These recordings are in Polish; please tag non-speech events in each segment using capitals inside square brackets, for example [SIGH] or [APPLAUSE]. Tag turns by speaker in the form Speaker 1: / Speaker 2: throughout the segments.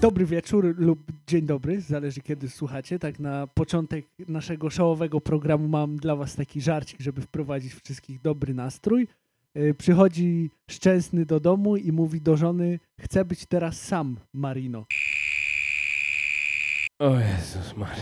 Speaker 1: dobry wieczór lub dzień dobry, zależy kiedy słuchacie. Tak na początek naszego showowego programu mam dla was taki żarcik, żeby wprowadzić wszystkich dobry nastrój. Yy, Przychodzi szczęsny do domu i mówi do żony, chcę być teraz sam, Marino.
Speaker 2: O Jezus Maria.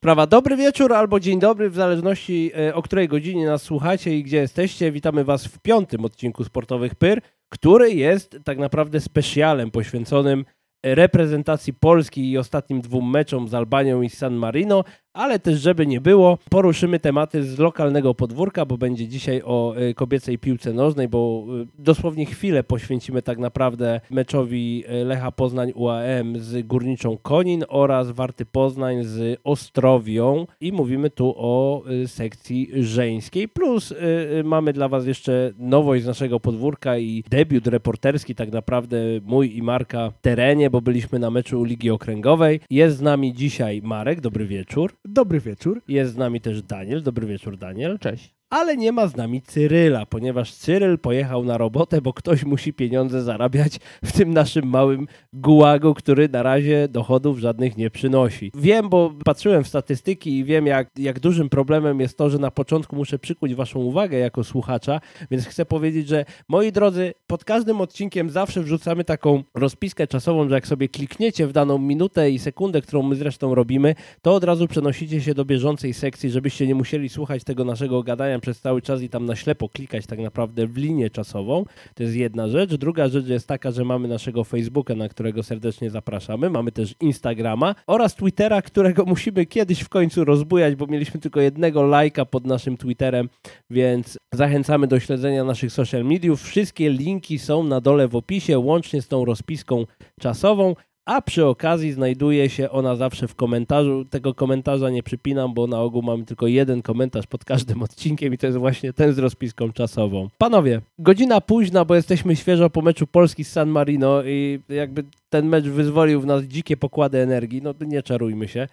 Speaker 2: Prawa, dobry wieczór albo dzień dobry, w zależności e, o której godzinie nas słuchacie i gdzie jesteście. Witamy Was w piątym odcinku Sportowych Pyr, który jest tak naprawdę specjalem poświęconym reprezentacji Polski i ostatnim dwóm meczom z Albanią i San Marino, ale też żeby nie było, poruszymy tematy z lokalnego podwórka, bo będzie dzisiaj o e, kobiecej piłce nożnej, bo e, dosłownie chwilę poświęcimy tak naprawdę meczowi e, Lecha Poznań UAM z Górniczą Konin oraz Warty Poznań z Ostrowią i mówimy tu o e, sekcji żeńskiej, plus e, e, mamy dla Was jeszcze nowość z naszego podwórka i debiut reporterski tak naprawdę mój i Marka w terenie, bo byliśmy na meczu Ligi Okręgowej. Jest z nami dzisiaj Marek, dobry wieczór.
Speaker 1: Dobry wieczór.
Speaker 2: Jest z nami też Daniel. Dobry wieczór, Daniel. Cześć. Ale nie ma z nami Cyryla, ponieważ Cyryl pojechał na robotę, bo ktoś musi pieniądze zarabiać w tym naszym małym gułagu, który na razie dochodów żadnych nie przynosi. Wiem, bo patrzyłem w statystyki i wiem, jak, jak dużym problemem jest to, że na początku muszę przykuć Waszą uwagę jako słuchacza, więc chcę powiedzieć, że moi drodzy, pod każdym odcinkiem zawsze wrzucamy taką rozpiskę czasową, że jak sobie klikniecie w daną minutę i sekundę, którą my zresztą robimy, to od razu przenosicie się do bieżącej sekcji, żebyście nie musieli słuchać tego naszego gadania przez cały czas i tam na ślepo klikać tak naprawdę w linię czasową. To jest jedna rzecz. Druga rzecz jest taka, że mamy naszego Facebooka, na którego serdecznie zapraszamy. Mamy też Instagrama oraz Twittera, którego musimy kiedyś w końcu rozbujać, bo mieliśmy tylko jednego lajka pod naszym Twitterem, więc zachęcamy do śledzenia naszych social mediów. Wszystkie linki są na dole w opisie, łącznie z tą rozpiską czasową. A przy okazji znajduje się ona zawsze w komentarzu. Tego komentarza nie przypinam, bo na ogół mamy tylko jeden komentarz pod każdym odcinkiem i to jest właśnie ten z rozpiską czasową. Panowie, godzina późna, bo jesteśmy świeżo po meczu Polski z San Marino i jakby ten mecz wyzwolił w nas dzikie pokłady energii. No nie czarujmy się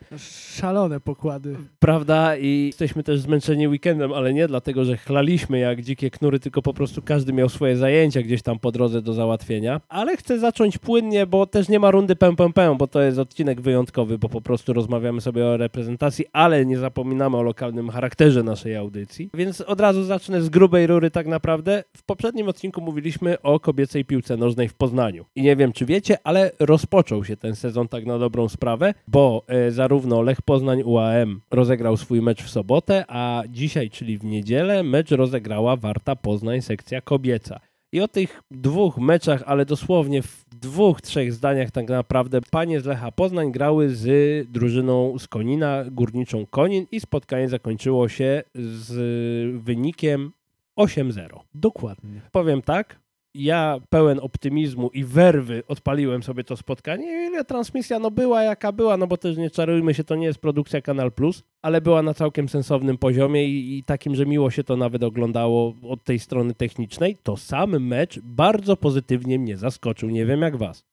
Speaker 1: Szalone pokłady.
Speaker 2: prawda? I jesteśmy też zmęczeni weekendem, ale nie dlatego, że chlaliśmy jak dzikie knury, tylko po prostu każdy miał swoje zajęcia gdzieś tam po drodze do załatwienia. Ale chcę zacząć płynnie, bo też nie ma rundy pę, pę, pę, bo to jest odcinek wyjątkowy, bo po prostu rozmawiamy sobie o reprezentacji, ale nie zapominamy o lokalnym charakterze naszej audycji. Więc od razu zacznę z grubej rury tak naprawdę. W poprzednim odcinku mówiliśmy o kobiecej piłce nożnej w Poznaniu. I nie wiem, czy wiecie, ale rozpoczął się ten sezon tak na dobrą sprawę, bo e, zarówno Lech Poznań UAM rozegrał swój mecz w sobotę, a dzisiaj, czyli w niedzielę, mecz rozegrała Warta Poznań sekcja kobieca. I o tych dwóch meczach, ale dosłownie w dwóch, trzech zdaniach tak naprawdę panie z Lecha Poznań grały z drużyną z Konina, górniczą Konin i spotkanie zakończyło się z wynikiem 8-0
Speaker 1: Dokładnie.
Speaker 2: powiem tak, ja pełen optymizmu i werwy odpaliłem sobie to spotkanie. Ile transmisja no była jaka była, no bo też nie czarujmy się, to nie jest produkcja Kanal Plus, ale była na całkiem sensownym poziomie i, i takim, że miło się to nawet oglądało od tej strony technicznej. To sam mecz bardzo pozytywnie mnie zaskoczył. Nie wiem jak was.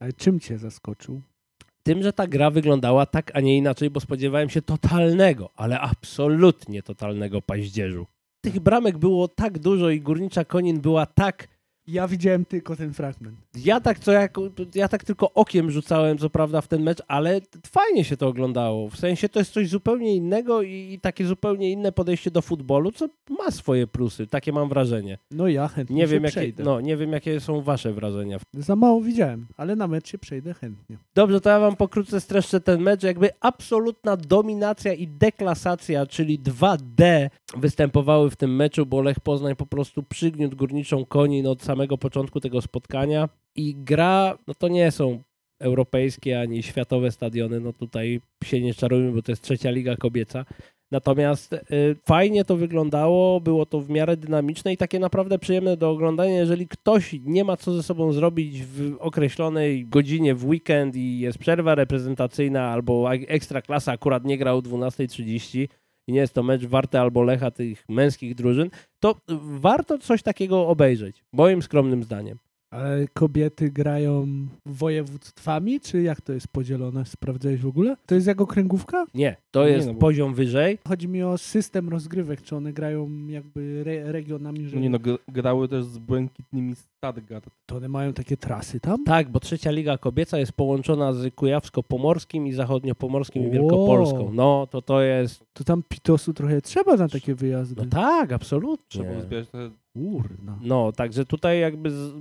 Speaker 1: Ale czym cię zaskoczył?
Speaker 2: Tym, że ta gra wyglądała tak, a nie inaczej, bo spodziewałem się totalnego, ale absolutnie totalnego paździerzu. Tych bramek było tak dużo i Górnicza Konin była tak
Speaker 1: Ja widziałem tylko ten fragment.
Speaker 2: Ja tak, co jak, ja tak tylko okiem rzucałem, co prawda, w ten mecz, ale t- fajnie się to oglądało. W sensie to jest coś zupełnie innego i, i takie zupełnie inne podejście do futbolu, co ma swoje plusy. Takie mam wrażenie.
Speaker 1: No ja chętnie
Speaker 2: Nie,
Speaker 1: się
Speaker 2: wiem, jakie,
Speaker 1: przejdę.
Speaker 2: no, nie wiem, jakie są wasze wrażenia.
Speaker 1: Za mało widziałem, ale na mecz się przejdę chętnie.
Speaker 2: Dobrze, to ja wam pokrótce streszczę ten mecz. Jakby absolutna dominacja i deklasacja, czyli 2D występowały w tym meczu, bo Lech Poznań po prostu przygniótł górniczą koni od samego początku tego spotkania. I gra, no to nie są europejskie ani światowe stadiony, no tutaj się nie czarujmy, bo to jest trzecia liga kobieca. Natomiast y, fajnie to wyglądało, było to w miarę dynamiczne i takie naprawdę przyjemne do oglądania. Jeżeli ktoś nie ma co ze sobą zrobić w określonej godzinie w weekend i jest przerwa reprezentacyjna albo ek- ekstraklasa akurat nie grał o 12.30 i nie jest to mecz warte albo lecha tych męskich drużyn, to warto coś takiego obejrzeć, moim skromnym zdaniem.
Speaker 1: Ale kobiety grają województwami, czy jak to jest podzielone? Sprawdzałeś w ogóle? To jest jak okręgówka?
Speaker 2: Nie, to
Speaker 3: Nie,
Speaker 2: jest
Speaker 3: no bo-
Speaker 2: poziom wyżej.
Speaker 1: Chodzi mi o system rozgrywek, czy one grają jakby re regionami, że
Speaker 3: Nie no, gr- grały też z błękitnymi Stadgard.
Speaker 1: to one mają takie trasy tam?
Speaker 2: Tak, bo trzecia liga kobieca jest połączona z kujawsko-pomorskim i zachodnio-pomorskim i
Speaker 1: Wow.
Speaker 2: wielkopolską. No, to to jest...
Speaker 1: To tam pitosu trochę trzeba na takie wyjazdy.
Speaker 2: No tak, absolutnie.
Speaker 3: Trzeba uzbierać te...
Speaker 1: Kurna.
Speaker 2: No, także tutaj jakby z,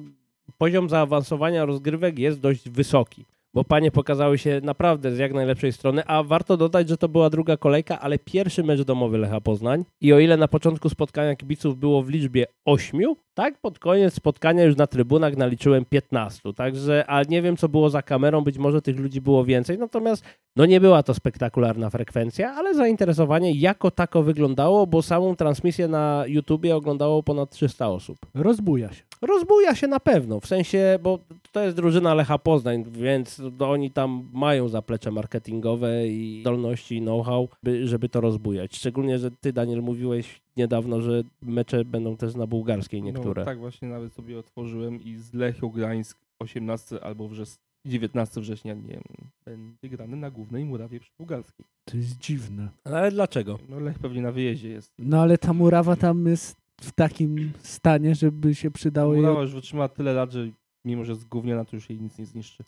Speaker 2: poziom zaawansowania rozgrywek jest dość wysoki, bo panie pokazały się naprawdę z jak najlepszej strony, a warto dodać, że to była druga kolejka, ale pierwszy mecz domowy Lecha Poznań i o ile na początku spotkania kibiców było w liczbie 8, tak pod koniec spotkania już na trybunach naliczyłem 15, także, a nie wiem co było za kamerą, być może tych ludzi było więcej, natomiast no nie była to spektakularna frekwencja, ale zainteresowanie jako tako wyglądało, bo samą transmisję na YouTubie oglądało ponad 300 osób.
Speaker 1: Rozbuja się.
Speaker 2: Rozbuja się na pewno, w sensie, bo to jest drużyna Lecha Poznań, więc to oni tam mają zaplecze marketingowe i zdolności i know-how, by, żeby to rozbujać. Szczególnie, że ty, Daniel, mówiłeś niedawno, że mecze będą też na bułgarskiej niektóre.
Speaker 3: No, tak właśnie nawet sobie otworzyłem i z Lechią Gdańsk 18 albo wrzes... 19 września, nie wiem, będzie grany na głównej murawie przy Bułgarskiej.
Speaker 1: To jest dziwne.
Speaker 2: Ale dlaczego?
Speaker 3: No Lech pewnie na wyjeździe jest.
Speaker 1: No ale ta murawa tam jest w takim stanie, żeby się przydało jej...
Speaker 3: Murawa już wytrzymała tyle lat, że mimo, że z gówniana to już jej nic nie zniszczy.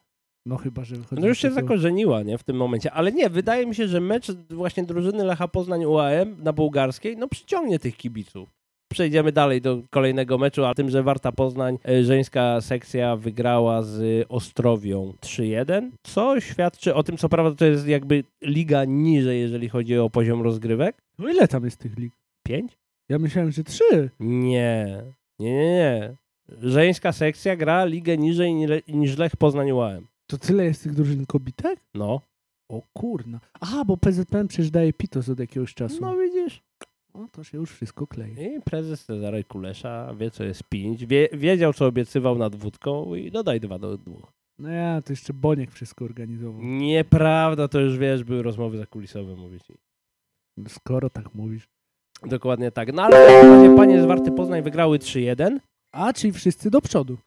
Speaker 1: No chyba, że wychodzi...
Speaker 2: No już się
Speaker 1: tylko-
Speaker 2: zakorzeniła, nie, w tym momencie. Ale nie, wydaje mi się, że mecz właśnie drużyny Lecha Poznań UAM na bułgarskiej, no przyciągnie tych kibiców. Przejdziemy dalej do kolejnego meczu, a tym, że Warta Poznań, e, żeńska sekcja wygrała z Ostrowią 3-1, co świadczy o tym, co prawda to jest jakby liga niżej, jeżeli chodzi o poziom rozgrywek.
Speaker 1: No ile tam jest tych lig?
Speaker 2: 5?
Speaker 1: Ja myślałem, że trzy.
Speaker 2: Nie, nie, nie, nie. Żeńska sekcja gra ligę niżej ni- niż Lech Poznań UAM.
Speaker 1: To tyle jest tych drużyn kobitek?
Speaker 2: No.
Speaker 1: O kurna. Aha, bo PZPN przecież daje pitos od jakiegoś czasu.
Speaker 2: No
Speaker 1: No,
Speaker 2: widzisz.
Speaker 1: to się już wszystko klei.
Speaker 2: I prezes Cezary Kulesza wie, co jest pięć, wie, wiedział, co obiecywał nad wódką i dodaj dwa do dwóch.
Speaker 1: No ja, to jeszcze Boniek wszystko organizował.
Speaker 2: Nieprawda, to już wiesz, były rozmowy zakulisowe, mówię ci.
Speaker 1: Skoro tak mówisz.
Speaker 2: Dokładnie tak. No ale w każdym razie panie z Warty Poznań wygrały 3-1.
Speaker 1: A, czyli wszyscy do przodu.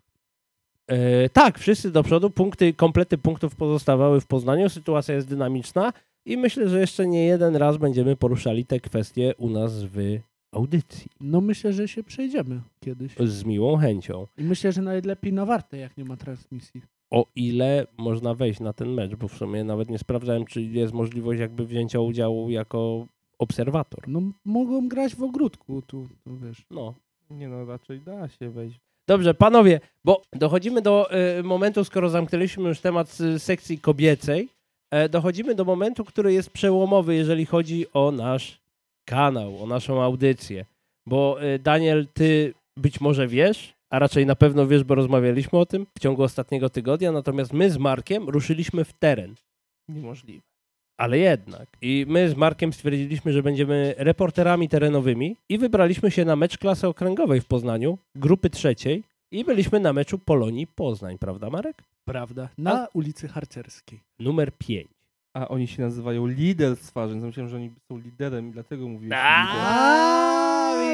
Speaker 2: E, tak, wszyscy do przodu, punkty, komplety punktów pozostawały w Poznaniu, sytuacja jest dynamiczna i myślę, że jeszcze nie jeden raz będziemy poruszali te kwestie u nas w audycji.
Speaker 1: No myślę, że się przejdziemy kiedyś.
Speaker 2: Z miłą chęcią.
Speaker 1: I myślę, że nawet lepiej na warte, jak nie ma transmisji.
Speaker 2: o ile można wejść na ten mecz, bo w sumie nawet nie sprawdzałem, czy jest możliwość jakby wzięcia udziału jako obserwator.
Speaker 1: No mogą grać w ogródku, tu, tu wiesz.
Speaker 2: No.
Speaker 3: Nie no, raczej da się wejść.
Speaker 2: Dobrze, panowie, bo dochodzimy do e, momentu, skoro zamknęliśmy już temat e, sekcji kobiecej, e, dochodzimy do momentu, który jest przełomowy, jeżeli chodzi o nasz kanał, o naszą audycję. Bo e, Daniel, ty być może wiesz, a raczej na pewno wiesz, bo rozmawialiśmy o tym w ciągu ostatniego tygodnia, natomiast my z Markiem ruszyliśmy w teren.
Speaker 3: Niemożliwe.
Speaker 2: Ale jednak. I my z Markiem stwierdziliśmy, że będziemy reporterami terenowymi i wybraliśmy się na mecz klasy okręgowej w Poznaniu, grupy trzeciej i byliśmy na meczu Polonii Poznań, prawda Marek?
Speaker 1: Prawda. Na ulicy Harcerskiej.
Speaker 2: Numer 5.
Speaker 3: A oni się nazywają lider stwarzeń. Myślałem, że oni są liderem i dlatego mówiłem
Speaker 2: Tak.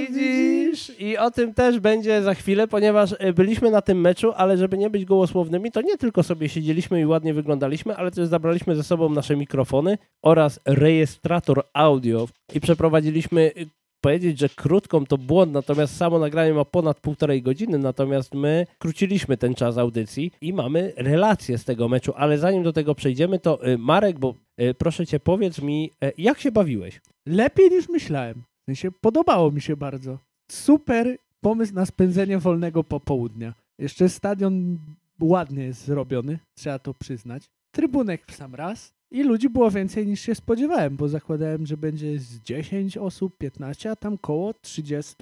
Speaker 3: lider.
Speaker 2: A, widzisz? I o tym też będzie za chwilę, ponieważ e, byliśmy na tym meczu, ale żeby nie być gołosłownymi, to nie tylko sobie siedzieliśmy i ładnie wyglądaliśmy, ale też zabraliśmy ze sobą nasze mikrofony oraz rejestrator audio i przeprowadziliśmy e, powiedzieć, że krótką to błąd, natomiast samo nagranie ma ponad półtorej godziny, natomiast my skróciliśmy ten czas audycji i mamy relacje z tego meczu, ale zanim do tego przejdziemy, to e, Marek, bo e, proszę cię, powiedz mi, e, jak się bawiłeś?
Speaker 1: Lepiej niż myślałem. W sensie podobało mi się bardzo. Super pomysł na spędzenie wolnego popołudnia. Jeszcze stadion ładnie jest zrobiony, trzeba to przyznać. Trybunek w sam raz i ludzi było więcej niż się spodziewałem, bo zakładałem, że będzie z 10 osób, 15, a tam koło 30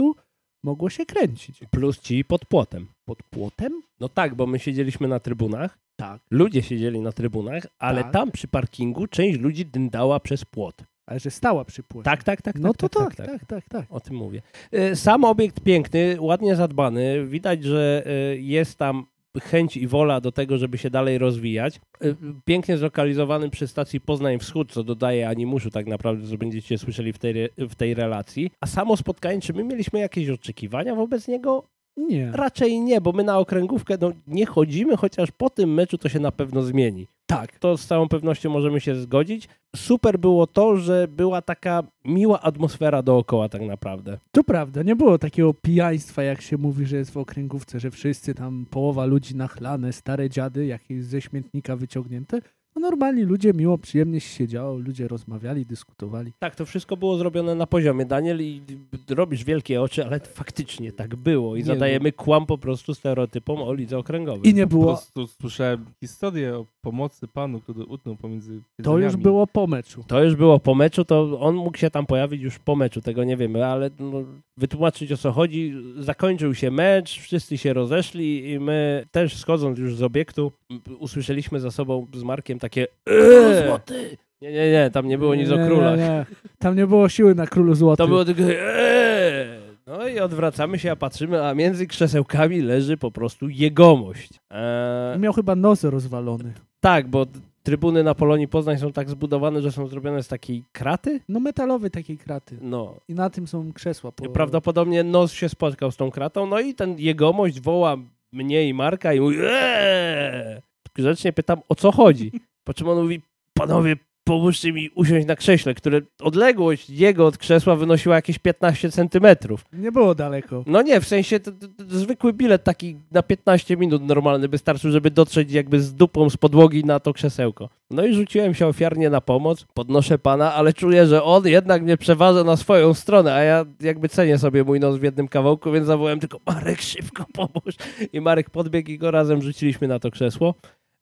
Speaker 1: mogło się kręcić.
Speaker 2: Plus ci pod płotem.
Speaker 1: Pod płotem?
Speaker 2: No tak, bo my siedzieliśmy na trybunach,
Speaker 1: Tak.
Speaker 2: ludzie siedzieli na trybunach, ale
Speaker 1: Tak.
Speaker 2: tam przy parkingu część ludzi dyndała przez płot.
Speaker 1: Ale że stała przy płocie.
Speaker 2: Tak, tak, tak.
Speaker 1: No
Speaker 2: tak,
Speaker 1: to tak, tak, tak, tak.
Speaker 2: O tym mówię. E, Sam obiekt piękny, ładnie zadbany. Widać, że e, jest tam chęć i wola do tego, żeby się dalej rozwijać. E, Pięknie zlokalizowany przy stacji Poznań Wschód, co dodaje animuszu tak naprawdę, że będziecie słyszeli w tej, re- w tej relacji. A samo spotkanie, czy my mieliśmy jakieś oczekiwania wobec niego?
Speaker 1: Nie.
Speaker 2: Raczej nie, bo my na okręgówkę no, nie chodzimy, chociaż po tym meczu to się na pewno zmieni.
Speaker 1: Tak.
Speaker 2: To z całą pewnością możemy się zgodzić. Super było to, że była taka miła atmosfera dookoła tak naprawdę.
Speaker 1: To prawda, nie było takiego pijaństwa, jak się mówi, że jest w okręgówce, że wszyscy tam, połowa ludzi nachlane, stare dziady, jakieś ze śmietnika wyciągnięte. No normalni ludzie, miło, przyjemnie się siedziało, ludzie rozmawiali, dyskutowali.
Speaker 2: Tak, to wszystko było zrobione na poziomie. Daniel, i robisz wielkie oczy, ale faktycznie tak było. I
Speaker 3: Nie,
Speaker 2: zadajemy kłam po prostu stereotypom o lidze okręgowej.
Speaker 1: I nie
Speaker 3: Po
Speaker 1: było,
Speaker 3: prostu słyszałem historię o pomocy panu, który utknął pomiędzy
Speaker 1: to już
Speaker 3: jedzeniami.
Speaker 1: było po meczu.
Speaker 2: To już było po meczu, to on mógł się tam pojawić już po meczu, tego nie wiemy, ale no, wytłumaczyć o co chodzi. Zakończył się mecz, wszyscy się rozeszli i my też schodząc już z obiektu m, usłyszeliśmy za sobą z Markiem takie "Eee!" Nie, nie, nie, tam nie było nic o
Speaker 1: Nie, nie,
Speaker 2: królach.
Speaker 1: nie. Tam nie było siły na królu złotym.
Speaker 2: To było tylko "Eee!" No i odwracamy się, a patrzymy, a między krzesełkami leży po prostu jegomość. Eee,
Speaker 1: Miał chyba nos rozwalony.
Speaker 2: tak, bo trybuny na Polonii Poznań są tak zbudowane, że są zrobione z takiej kraty.
Speaker 1: No metalowy takiej kraty.
Speaker 2: No,
Speaker 1: I na tym są krzesła. Po...
Speaker 2: Prawdopodobnie nos się spotkał z tą kratą, no i ten jegomość woła mnie i Marka i mówi eee! Grzecznie pytam, o co chodzi? Po czym on mówi, panowie, pomóżcie mi usiąść na krześle, które odległość jego od krzesła wynosiła jakieś 15 centymetrów.
Speaker 1: Nie było daleko.
Speaker 2: No nie, w sensie to, to, to zwykły bilet taki na 15 minut normalny by starczył, żeby dotrzeć jakby z dupą z podłogi na to krzesełko. No i rzuciłem się ofiarnie na pomoc, podnoszę pana, ale czuję, że on jednak mnie przeważa na swoją stronę, a ja jakby cenię sobie mój nos w jednym kawałku, więc zawołałem tylko Marek, szybko pomóż. I Marek podbiegł i go razem rzuciliśmy na to krzesło.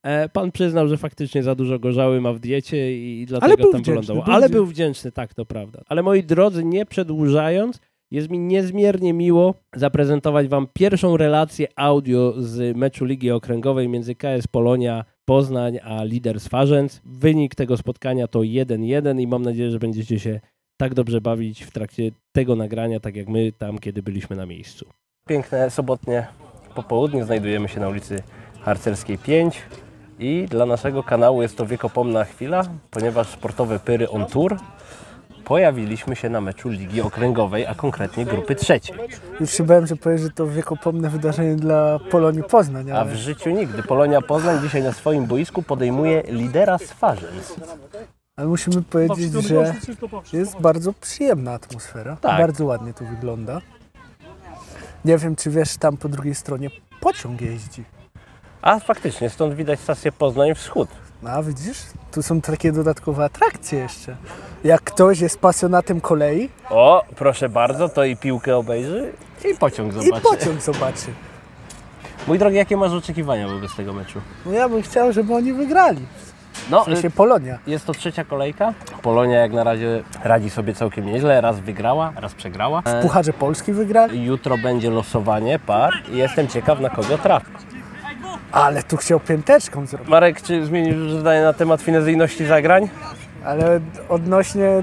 Speaker 2: E, pan przyznał, że faktycznie za dużo gorzały ma w diecie i i dlatego
Speaker 1: Ale był
Speaker 2: tam
Speaker 1: wdzięczny,
Speaker 2: wylądował.
Speaker 1: był
Speaker 2: ale
Speaker 1: wdzię-
Speaker 2: był wdzięczny, tak, to prawda. Ale moi drodzy, nie przedłużając, jest mi niezmiernie miło zaprezentować Wam pierwszą relację audio z meczu Ligi Okręgowej między KS Polonia Poznań a Liders Farzens. Wynik tego spotkania to 1-1 i mam nadzieję, że będziecie się tak dobrze bawić w trakcie tego nagrania, tak jak my tam, kiedy byliśmy na miejscu. Piękne sobotnie popołudnie znajdujemy się na ulicy Harcerskiej 5 i dla naszego kanału jest to wiekopomna chwila, ponieważ sportowe pyry on tour pojawiliśmy się na meczu Ligi Okręgowej, a konkretnie grupy trzeciej.
Speaker 1: Już się bałem, że powiesz, że to wiekopomne wydarzenie dla Polonii Poznań,
Speaker 2: A w życiu nigdy. Polonia Poznań dzisiaj na swoim boisku podejmuje lidera z Farzens.
Speaker 1: Ale musimy powiedzieć, że jest bardzo przyjemna atmosfera.
Speaker 2: Tak.
Speaker 1: Bardzo ładnie tu wygląda. Nie wiem, czy wiesz, tam po drugiej stronie pociąg jeździ.
Speaker 2: A faktycznie, stąd widać stację Poznań Wschód.
Speaker 1: No, a widzisz, tu są takie dodatkowe atrakcje jeszcze. Jak ktoś jest pasjonatem kolei
Speaker 2: O, proszę bardzo, to i piłkę obejrzy i pociąg
Speaker 1: i
Speaker 2: zobaczy.
Speaker 1: pociąg zobaczy.
Speaker 2: Mój drogi, jakie masz oczekiwania wobec tego meczu?
Speaker 1: No ja bym chciał, żeby oni wygrali.
Speaker 2: No,
Speaker 1: W sensie Polonia.
Speaker 2: y, jest to trzecia kolejka. Polonia jak na razie radzi sobie całkiem nieźle. Raz wygrała, raz przegrała. E,
Speaker 1: Pucharze Polski wygrali,
Speaker 2: Jutro będzie losowanie par i jestem ciekaw na kogo trafi.
Speaker 1: ale tu chciał pięteczką zrobić.
Speaker 2: Marek, czy zmienisz już zdanie na temat finezyjności zagrań?
Speaker 1: Ale odnośnie,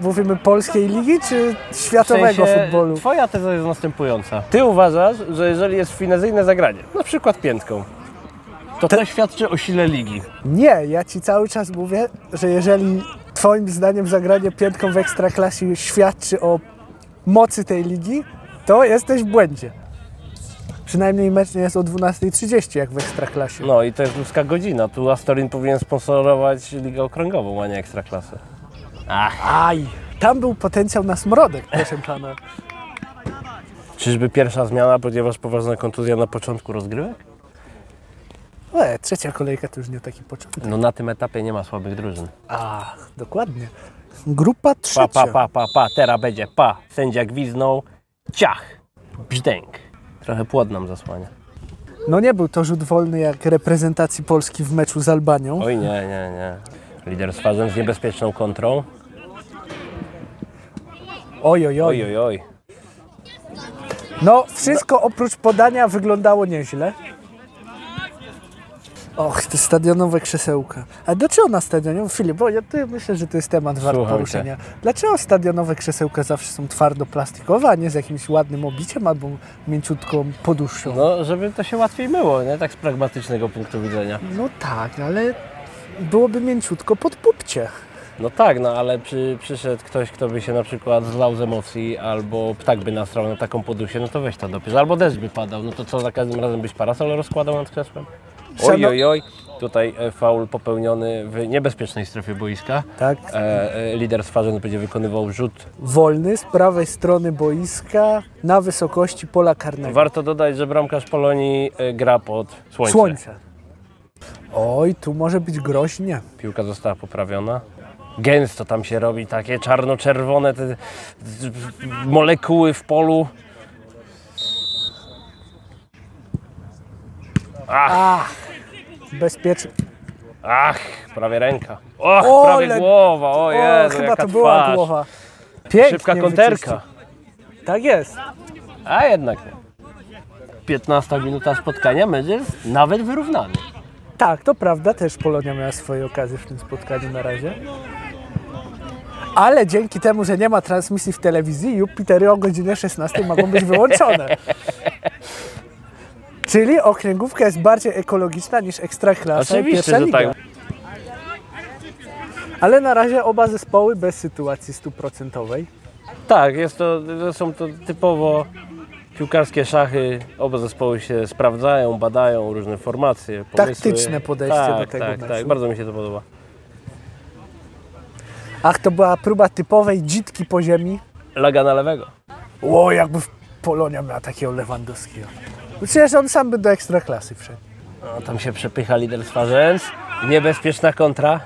Speaker 1: mówimy polskiej ligi czy
Speaker 2: W
Speaker 1: światowego
Speaker 2: sensie,
Speaker 1: futbolu?
Speaker 2: Twoja teza jest następująca. Ty uważasz, że jeżeli jest finezyjne zagranie, na przykład piętką, to to świadczy o sile ligi.
Speaker 1: Nie, ja ci cały czas mówię, że jeżeli twoim zdaniem zagranie piętką w ekstraklasie świadczy o mocy tej ligi, to jesteś w błędzie. Przynajmniej mecz nie jest o 12.30 jak w ekstraklasie.
Speaker 2: No i to jest ludzka godzina. Tu Astorin powinien sponsorować Ligę Okręgową, a nie Ekstraklasę.
Speaker 1: Aj, tam był potencjał na smrodek, proszę pana.
Speaker 2: Czyżby pierwsza zmiana, ponieważ poważna kontuzja na początku rozgrywek?
Speaker 1: E, trzecia kolejka to już nie taki początek.
Speaker 2: No na tym etapie nie ma słabych drużyn.
Speaker 1: Ach, dokładnie. Grupa
Speaker 2: Pa,
Speaker 1: trzecia.
Speaker 2: pa, pa, pa, pa, teraz będzie pa. Sędzia gwiznął. Ciach! Brzdęk. Trochę płod nam zasłania.
Speaker 1: No nie był to rzut wolny jak reprezentacji Polski w meczu z Albanią.
Speaker 2: Oj, nie, nie, nie. Lider z fazem z niebezpieczną kontrą.
Speaker 1: Oj, oj,
Speaker 2: Oj,
Speaker 1: oj.
Speaker 2: oj, oj.
Speaker 1: No, wszystko oprócz podania wyglądało nieźle. Och, te stadionowe krzesełka. A dlaczego na stadionie? Filip, bo ja ty myślę, że to jest temat wart
Speaker 2: Słucham cię.
Speaker 1: poruszenia. Dlaczego stadionowe krzesełka zawsze są twardo plastikowe, a nie z jakimś ładnym obiciem albo mięciutką poduszką? No,
Speaker 2: No, żeby to się łatwiej myło, nie? Tak z
Speaker 1: No
Speaker 2: pragmatycznego punktu widzenia.
Speaker 1: tak, ale byłoby mięciutko pod pupcie.
Speaker 2: No tak, no ale przy, przyszedł ktoś, kto by się na przykład zlał z emocji, albo ptak by nasrał na taką podusię, no to weź to dopisz. Albo deszcz by padał, no to co, za każdym razem byś parasol rozkładał nad krzesłem? Oj,
Speaker 1: Szano-
Speaker 2: oj, oj. Tutaj e, faul popełniony w niebezpiecznej strefie boiska.
Speaker 1: Tak.
Speaker 2: E, e, lider Swarzyn będzie wykonywał rzut.
Speaker 1: Wolny z prawej strony boiska na wysokości pola karnego.
Speaker 2: Warto dodać, że bramkarz Polonii e, gra pod słońce.
Speaker 1: Słońce. Oj, tu może być groźnie.
Speaker 2: Piłka została poprawiona. Gęsto tam się robi, takie czarno-czerwone te, te, molekuły w polu.
Speaker 1: Bezpiecznie.
Speaker 2: Ach, prawie ręka. Och,
Speaker 1: O,
Speaker 2: prawie
Speaker 1: ale-
Speaker 2: głowa, o
Speaker 1: O,
Speaker 2: Jezu,
Speaker 1: chyba
Speaker 2: jaka
Speaker 1: to była
Speaker 2: twarz.
Speaker 1: głowa. Pięknie
Speaker 2: Szybka konterka.
Speaker 1: wyczyścił. Tak jest.
Speaker 2: A jednak nie. 15 minuta spotkania, mecz jest nawet wyrównany.
Speaker 1: Tak, to prawda, też Polonia miała swoje okazje w tym spotkaniu na razie. Ale dzięki temu, że nie ma transmisji w telewizji, Jupitery o godzinie 16 mogą być
Speaker 2: [LAUGHS]
Speaker 1: wyłączone. Czyli okręgówka jest bardziej ekologiczna niż ekstraklasa i
Speaker 2: Oczywiście,
Speaker 1: pierwsza
Speaker 2: że
Speaker 1: liga.
Speaker 2: tak.
Speaker 1: Ale na razie oba zespoły bez sytuacji stuprocentowej.
Speaker 2: Tak, jest to, to są to typowo piłkarskie szachy. Oba zespoły się sprawdzają, badają różne formacje, pomysły.
Speaker 1: Taktyczne podejście
Speaker 2: tak,
Speaker 1: do tego
Speaker 2: Tak,
Speaker 1: meczu.
Speaker 2: tak, bardzo mi się to podoba.
Speaker 1: Ach, to była próba typowej dzitki po ziemi.
Speaker 2: Laga na lewego.
Speaker 1: O, jakby w Polonia miała takiego Lewandowskiego. No Przecież on sam by do ekstraklasy wszedł.
Speaker 2: No, tam się przepycha lider Swarzędz. Niebezpieczna kontra.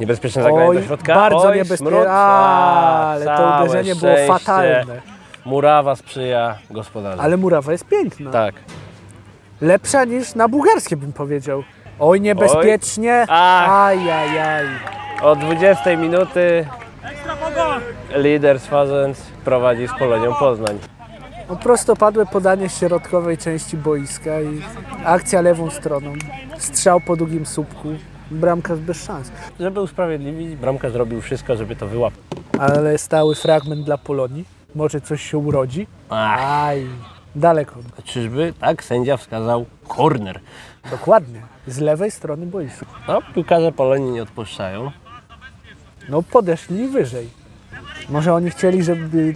Speaker 2: Niebezpieczne zagranie do środka.
Speaker 1: bardzo
Speaker 2: Oj, smród.
Speaker 1: niebezpieczne.
Speaker 2: A,
Speaker 1: Ale to
Speaker 2: całe
Speaker 1: uderzenie
Speaker 2: szczęście.
Speaker 1: było fatalne.
Speaker 2: Murawa sprzyja gospodarzom.
Speaker 1: Ale murawa jest piękna.
Speaker 2: Tak.
Speaker 1: Lepsza niż na bułgarskie bym powiedział. Oj, niebezpiecznie.
Speaker 2: Ach.
Speaker 1: Ajajaj.
Speaker 2: O 20 minuty lider Swarzędz prowadzi z Polonią Poznań.
Speaker 1: No prostopadłe podanie z środkowej części boiska i akcja lewą stroną. Strzał po długim słupku. Bramka bez szans.
Speaker 2: Żeby usprawiedliwić, bramkarz zrobił wszystko, żeby to wyłapać.
Speaker 1: Ale stały fragment dla Polonii. Może coś się urodzi.
Speaker 2: Ach,
Speaker 1: Aj. Daleko.
Speaker 2: czyżby? Tak, sędzia wskazał korner.
Speaker 1: Dokładnie. Z lewej strony boiska.
Speaker 2: No, piłkarze Polonii nie odpuszczają.
Speaker 1: No podeszli wyżej. Może oni chcieli, żeby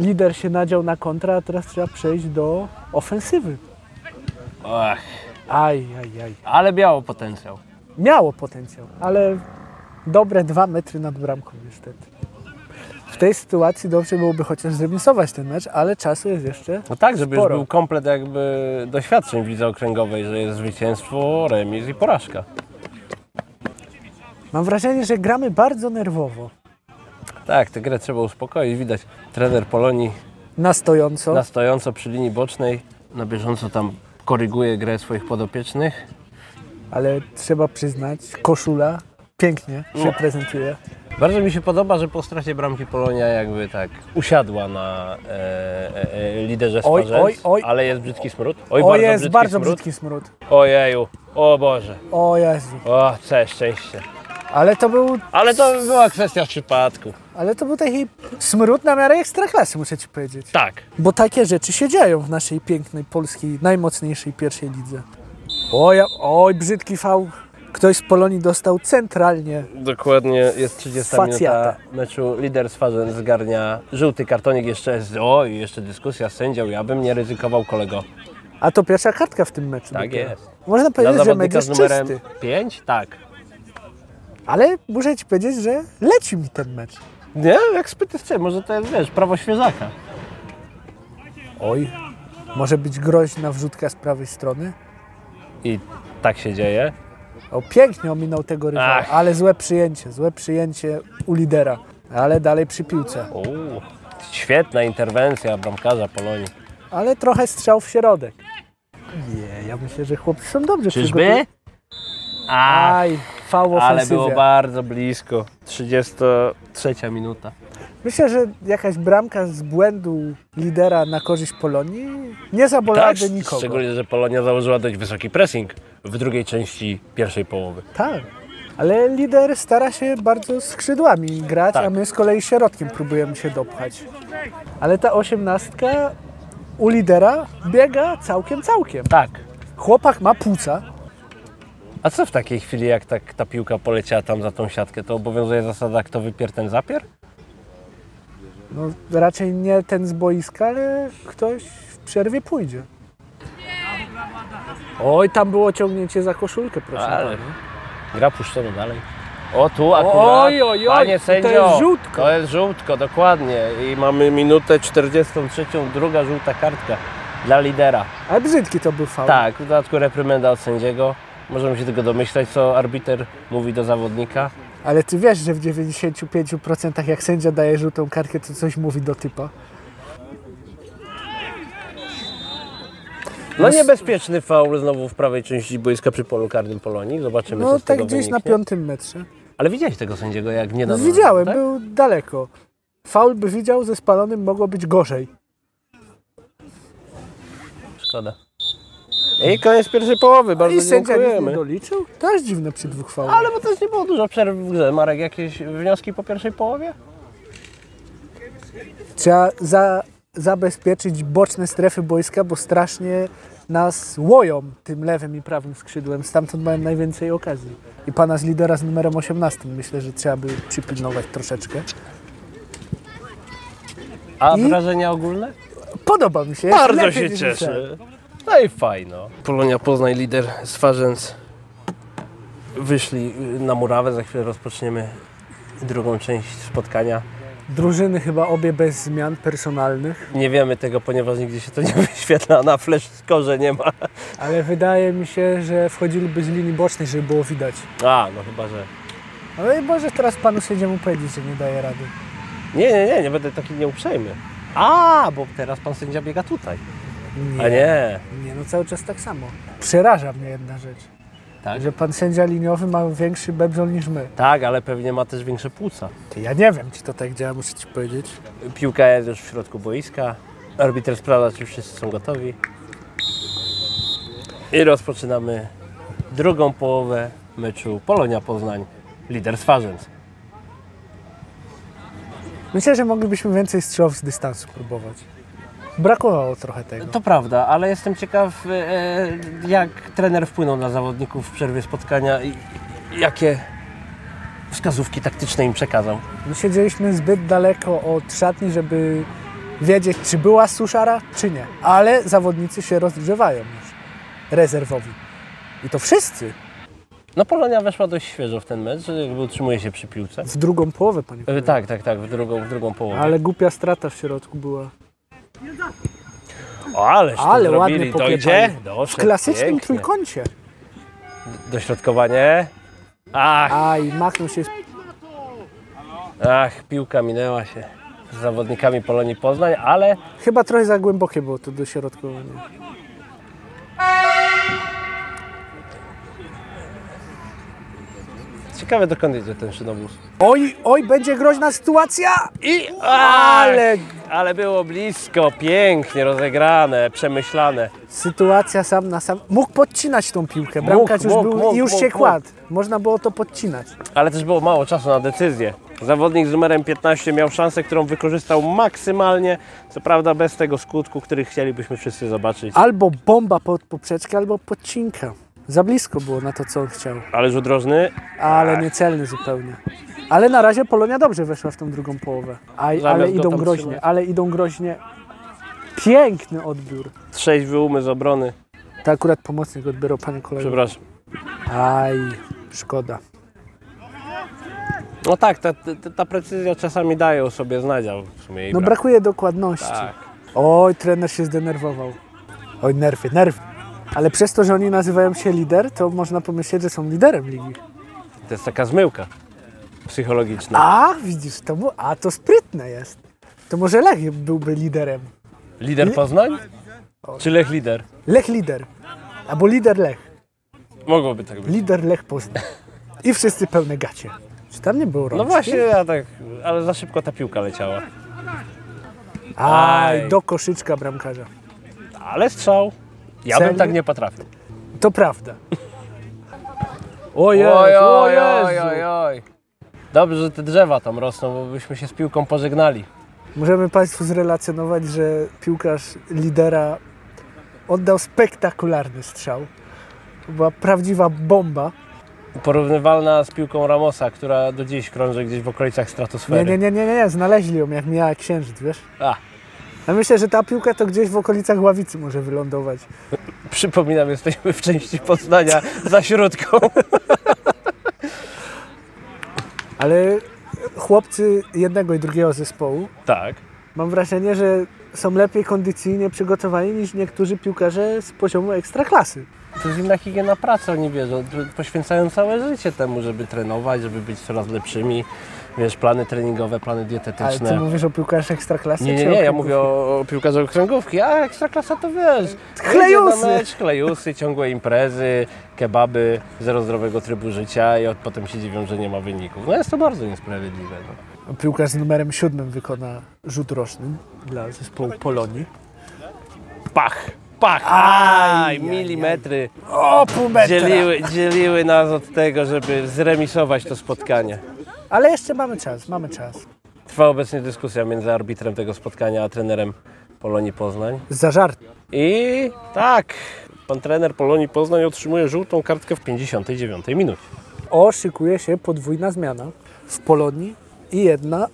Speaker 1: lider się nadział na kontra, a teraz trzeba przejść do ofensywy.
Speaker 2: Ach,
Speaker 1: Aj, aj, aj.
Speaker 2: ale biało potencjał.
Speaker 1: Miało potencjał, ale dobre dwa metry nad bramką niestety. W tej sytuacji dobrze byłoby chociaż zremisować ten mecz, ale czasu jest jeszcze.
Speaker 2: No tak, żeby
Speaker 1: Sporo.
Speaker 2: już był komplet jakby doświadczeń w lidze okręgowej, że jest zwycięstwo, remis i porażka.
Speaker 1: Mam wrażenie, że gramy bardzo nerwowo.
Speaker 2: Tak, tę grę trzeba uspokoić. Widać, trener Polonii
Speaker 1: Na stojąco.
Speaker 2: na stojąco przy linii bocznej na bieżąco tam koryguje grę swoich podopiecznych.
Speaker 1: ale trzeba przyznać, koszula pięknie się prezentuje.
Speaker 2: Bardzo mi się podoba, że po stracie bramki Polonia jakby tak usiadła na e, e, e, liderze
Speaker 1: Oj,
Speaker 2: Swarzędz,
Speaker 1: oj, oj.
Speaker 2: ale jest brzydki smród. Oj,
Speaker 1: O, jest bardzo
Speaker 2: smród.
Speaker 1: brzydki smród.
Speaker 2: Ojeju, o Boże,
Speaker 1: O Jezu.
Speaker 2: o, całe szczęście.
Speaker 1: Ale to był,
Speaker 2: Ale to była kwestia przypadku.
Speaker 1: ale to był taki smród na miarę ekstraklasy, muszę ci powiedzieć.
Speaker 2: Tak.
Speaker 1: Bo takie rzeczy się dzieją w naszej pięknej, polskiej, najmocniejszej pierwszej lidze. Oj, a- oj brzydki fał. Ktoś z Polonii dostał centralnie.
Speaker 2: Dokładnie jest 30
Speaker 1: Facjata.
Speaker 2: minuta meczu. Lider Swarzędz zgarnia żółty kartonik. Jeszcze jest, o i jeszcze dyskusja z sędzią. Ja bym nie ryzykował kolego.
Speaker 1: Tak A to pierwsza kartka w tym meczu.
Speaker 2: Tak
Speaker 1: dopiero.
Speaker 2: jest.
Speaker 1: Można powiedzieć, że mecz
Speaker 2: zawodnika z
Speaker 1: jest
Speaker 2: numerem
Speaker 1: czysty.
Speaker 2: 5? Tak.
Speaker 1: Ale muszę ci powiedzieć, że leci mi ten mecz.
Speaker 2: Nie, jak spyty z czym? Może to jest, wiesz, prawo świeżaka.
Speaker 1: Oj, może być groźna wrzutka z prawej strony.
Speaker 2: I tak się dzieje.
Speaker 1: O, pięknie ominął tego rywala,
Speaker 2: Ach.
Speaker 1: ale złe przyjęcie, złe przyjęcie u lidera. Ale dalej przy piłce.
Speaker 2: Uuu, świetna interwencja bramkarza Polonii.
Speaker 1: Ale trochę strzał w środek. Nie, ja myślę, że chłopcy są dobrze przygotowani.
Speaker 2: Czyżby? A,
Speaker 1: Aj, faul
Speaker 2: ale
Speaker 1: ofensywie.
Speaker 2: było bardzo blisko. 33 minuta.
Speaker 1: Myślę, że jakaś bramka z błędu lidera na korzyść Polonii nie zabolałaby
Speaker 2: Tak,
Speaker 1: nikogo.
Speaker 2: szczególnie, że Polonia założyła dość wysoki pressing w drugiej części pierwszej połowy.
Speaker 1: Tak. Ale lider stara się bardzo skrzydłami grać,
Speaker 2: Tak.
Speaker 1: a my z kolei środkiem próbujemy się dopchać. Ale ta osiemnastka u lidera biega całkiem, całkiem.
Speaker 2: Tak.
Speaker 1: Chłopak ma płuca.
Speaker 2: A co w takiej chwili, jak tak ta piłka poleciała tam za tą siatkę, to obowiązuje zasada, kto wypier ten zapier?
Speaker 1: No, raczej nie ten z boiska, ale ktoś w przerwie pójdzie. Oj, tam było ciągnięcie za koszulkę, proszę
Speaker 2: Ale-
Speaker 1: pana.
Speaker 2: Gra puszczona dalej. O, tu akurat.
Speaker 1: Oj, oj, oj,
Speaker 2: Panie
Speaker 1: to
Speaker 2: sędzio,
Speaker 1: jest żółtko.
Speaker 2: To jest żółtko, dokładnie. I mamy minutę 43, druga żółta kartka dla lidera.
Speaker 1: Ale brzydki to był faul.
Speaker 2: Tak, w dodatku reprymenda od sędziego. Możemy się tego domyślać, co arbiter mówi do zawodnika.
Speaker 1: Ale ty wiesz, że w 95% jak sędzia daje żółtą kartkę, to coś mówi do typa.
Speaker 2: No niebezpieczny faul znowu w prawej części boiska przy polu karnym Polonii. Zobaczymy, co
Speaker 1: No
Speaker 2: z tego
Speaker 1: tak gdzieś na
Speaker 2: wyniknie.
Speaker 1: piątym metrze.
Speaker 2: Ale widziałeś tego sędziego, jak nie
Speaker 1: No,
Speaker 2: dał.
Speaker 1: widziałem,
Speaker 2: tak?
Speaker 1: był daleko. Faul by widział, ze spalonym mogło być gorzej.
Speaker 2: Szkoda. I koniec pierwszej połowy, bardzo
Speaker 1: I sędzia nic nie
Speaker 2: dziękujemy.
Speaker 1: doliczył? To jest dziwne przy dwóch faulach.
Speaker 2: Ale bo też nie było dużo przerw w grze. Marek, jakieś wnioski po pierwszej połowie?
Speaker 1: Trzeba za, zabezpieczyć boczne strefy boiska, bo strasznie nas łoją tym lewym i prawym skrzydłem. Stamtąd mają najwięcej okazji. I pana z lidera z numerem 18 myślę, że trzeba by przypilnować troszeczkę.
Speaker 2: A
Speaker 1: I?
Speaker 2: wrażenia ogólne?
Speaker 1: Podoba mi się. jest
Speaker 2: Bardzo
Speaker 1: lepiej
Speaker 2: się
Speaker 1: niż myślałem.
Speaker 2: cieszę. No i fajno. Polonia Poznań, lider Swarzędz wyszli na murawę. Za chwilę rozpoczniemy drugą część spotkania.
Speaker 1: Drużyny chyba obie bez zmian personalnych,
Speaker 2: Nie wiemy tego, ponieważ nigdzie się to nie [LAUGHS] wyświetla. Na flash skorze nie ma.
Speaker 1: ale wydaje mi się, że wchodziliby z linii bocznej, żeby było widać.
Speaker 2: A, no chyba, że...
Speaker 1: Ale Boże, teraz panu sędziemu powiedzieć, że nie daje rady.
Speaker 2: Nie, nie, nie, nie będę taki nieuprzejmy. A, bo teraz pan sędzia biega tutaj. A nie.
Speaker 1: Nie, no cały czas tak samo. Przeraża mnie jedna rzecz.
Speaker 2: Tak?
Speaker 1: Że pan sędzia liniowy ma większy bebzol niż my.
Speaker 2: Tak, ale pewnie ma też większe płuca.
Speaker 1: Ty, ja nie wiem, czy to tak działa, muszę ci powiedzieć.
Speaker 2: Piłka jest już w środku boiska. Arbiter sprawdza, czy wszyscy są gotowi. I rozpoczynamy drugą połowę meczu Polonia Poznań. Lider Swarzędz.
Speaker 1: Myślę, że moglibyśmy więcej strzałów z dystansu próbować. Brakowało trochę tego.
Speaker 2: To prawda, ale jestem ciekaw, e, e, jak trener wpłynął na zawodników w przerwie spotkania i i jakie wskazówki taktyczne im przekazał.
Speaker 1: My siedzieliśmy zbyt daleko od szatni, żeby wiedzieć, czy była suszara, czy nie. Ale zawodnicy się rozgrzewają już. Rezerwowi. I to wszyscy
Speaker 2: No Polonia weszła dość świeżo w ten mecz, jakby utrzymuje się przy piłce.
Speaker 1: w drugą połowę, panie
Speaker 2: E,
Speaker 1: kolego.
Speaker 2: Tak, tak, tak, w drugą, w drugą połowę.
Speaker 1: Ale głupia strata w środku była.
Speaker 2: O, ależ to
Speaker 1: Ale
Speaker 2: zrobili,
Speaker 1: ładnie
Speaker 2: dojdzie.
Speaker 1: poklepali.
Speaker 2: Doszedł,
Speaker 1: W klasycznym
Speaker 2: pięknie.
Speaker 1: trójkącie.
Speaker 2: Dośrodkowanie. Ach,
Speaker 1: Aj, machnął się.
Speaker 2: ach, piłka minęła się z zawodnikami Polonii Poznań, ale
Speaker 1: Chyba trochę za głębokie było to dośrodkowanie.
Speaker 2: ciekawe dokąd jedzie ten szynobus.
Speaker 1: Oj, oj, będzie groźna sytuacja!
Speaker 2: I ale, ale było blisko, pięknie rozegrane, przemyślane.
Speaker 1: Sytuacja sam na sam. Mógł podcinać tą piłkę. Bramkarz już
Speaker 2: mógł,
Speaker 1: był
Speaker 2: mógł,
Speaker 1: i już
Speaker 2: mógł,
Speaker 1: się
Speaker 2: mógł.
Speaker 1: kładł. Można było to podcinać.
Speaker 2: Ale też było mało czasu na decyzję. Zawodnik z numerem 15 miał szansę, którą wykorzystał maksymalnie, co prawda bez tego skutku, który chcielibyśmy wszyscy zobaczyć.
Speaker 1: Albo bomba pod poprzeczkę, albo podcinka. Za blisko było na to, co on chciał.
Speaker 2: Ale rzut rożny Tak.
Speaker 1: Ale niecelny zupełnie. Ale na razie Polonia dobrze weszła w tą drugą połowę. Aj,
Speaker 2: Zamiast
Speaker 1: ale
Speaker 2: go
Speaker 1: idą
Speaker 2: tam
Speaker 1: groźnie,
Speaker 2: trzymać.
Speaker 1: ale idą groźnie. Piękny odbiór.
Speaker 2: Trzeźwy umysł obrony.
Speaker 1: To akurat pomocnik odbierał panie kolego.
Speaker 2: Przepraszam.
Speaker 1: Aj, szkoda.
Speaker 2: No tak, ta, ta, ta precyzja czasami daje o sobie znać, a w sumie jej
Speaker 1: No
Speaker 2: brak.
Speaker 1: brakuje dokładności.
Speaker 2: Tak.
Speaker 1: Oj, trener się zdenerwował. Oj, nerwy, nerwy. Ale przez to, że oni nazywają się lider, to można pomyśleć, że są liderem ligi.
Speaker 2: To jest taka zmyłka psychologiczna.
Speaker 1: A, widzisz, to mu, a to sprytne jest. To może Lech byłby liderem.
Speaker 2: Lider Poznań? Czy Lech Lider?
Speaker 1: Lech lider. Albo lider Lech.
Speaker 2: Mogłoby tak być.
Speaker 1: Lider Lech Poznań. I wszyscy pełne gacie. Czy tam nie było rączki?
Speaker 2: No właśnie, ja tak, ale za szybko ta piłka leciała.
Speaker 1: Aj,
Speaker 2: Aj.
Speaker 1: do koszyczka bramkarza.
Speaker 2: Ale strzał. Ja bym
Speaker 1: Celny?
Speaker 2: tak nie potrafił.
Speaker 1: To prawda. O Jezu, o Jezu.
Speaker 2: oj. Dobrze, że te drzewa tam rosną, bo byśmy się z piłką pożegnali.
Speaker 1: Możemy Państwu zrelacjonować, że piłkarz lidera oddał spektakularny strzał. To była prawdziwa bomba.
Speaker 2: Porównywalna z piłką Ramosa, która do dziś krąży gdzieś w okolicach
Speaker 1: Nie,
Speaker 2: stratosfery.
Speaker 1: nie, nie, nie, nie, nie, znaleźli ją jak miała księżyc, wiesz?
Speaker 2: A.
Speaker 1: Ja myślę, że ta piłka to gdzieś w okolicach ławicy może wylądować.
Speaker 2: Przypominam, jesteśmy w części Poznania za środką.
Speaker 1: Ale chłopcy jednego i drugiego zespołu
Speaker 2: [LAUGHS] Tak.
Speaker 1: mam wrażenie, że są lepiej kondycyjnie przygotowani niż niektórzy piłkarze z poziomu ekstraklasy.
Speaker 2: To jest inna higiena pracy, oni wiedzą. Poświęcają całe życie temu, żeby trenować, żeby być coraz lepszymi. Wiesz, plany treningowe, plany
Speaker 1: Ale ty
Speaker 2: dietetyczne.
Speaker 1: mówisz o piłkarzach ekstraklasy?
Speaker 2: Nie, nie,
Speaker 1: czy
Speaker 2: nie, ja
Speaker 1: piłkarzach-
Speaker 2: mówię o, o piłkarzu okręgówki, a ekstraklasa to [LAUGHS] wiesz. jedzie na
Speaker 1: Klejusy!
Speaker 2: Mecz, klejusy, ciągłe imprezy, kebaby, zero zdrowego trybu życia i od, potem się dziwią, że nie ma wyników. No jest to bardzo niesprawiedliwe. No.
Speaker 1: Piłkarz z numerem siódmym wykona rzut roczny dla zespołu Polonii.
Speaker 2: Pach, pach,
Speaker 1: Aj,
Speaker 2: aj, milimetry
Speaker 1: O, pół metra!
Speaker 2: dzieliły, dzieliły nas od tego, żeby zremisować to spotkanie.
Speaker 1: Ale jeszcze mamy czas, mamy czas.
Speaker 2: Trwa obecnie dyskusja między arbitrem tego spotkania a trenerem Polonii Poznań.
Speaker 1: Za żart.
Speaker 2: I tak, pan trener Polonii Poznań otrzymuje żółtą kartkę w 59 minucie.
Speaker 1: O, szykuje się podwójna zmiana w Polonii i jedna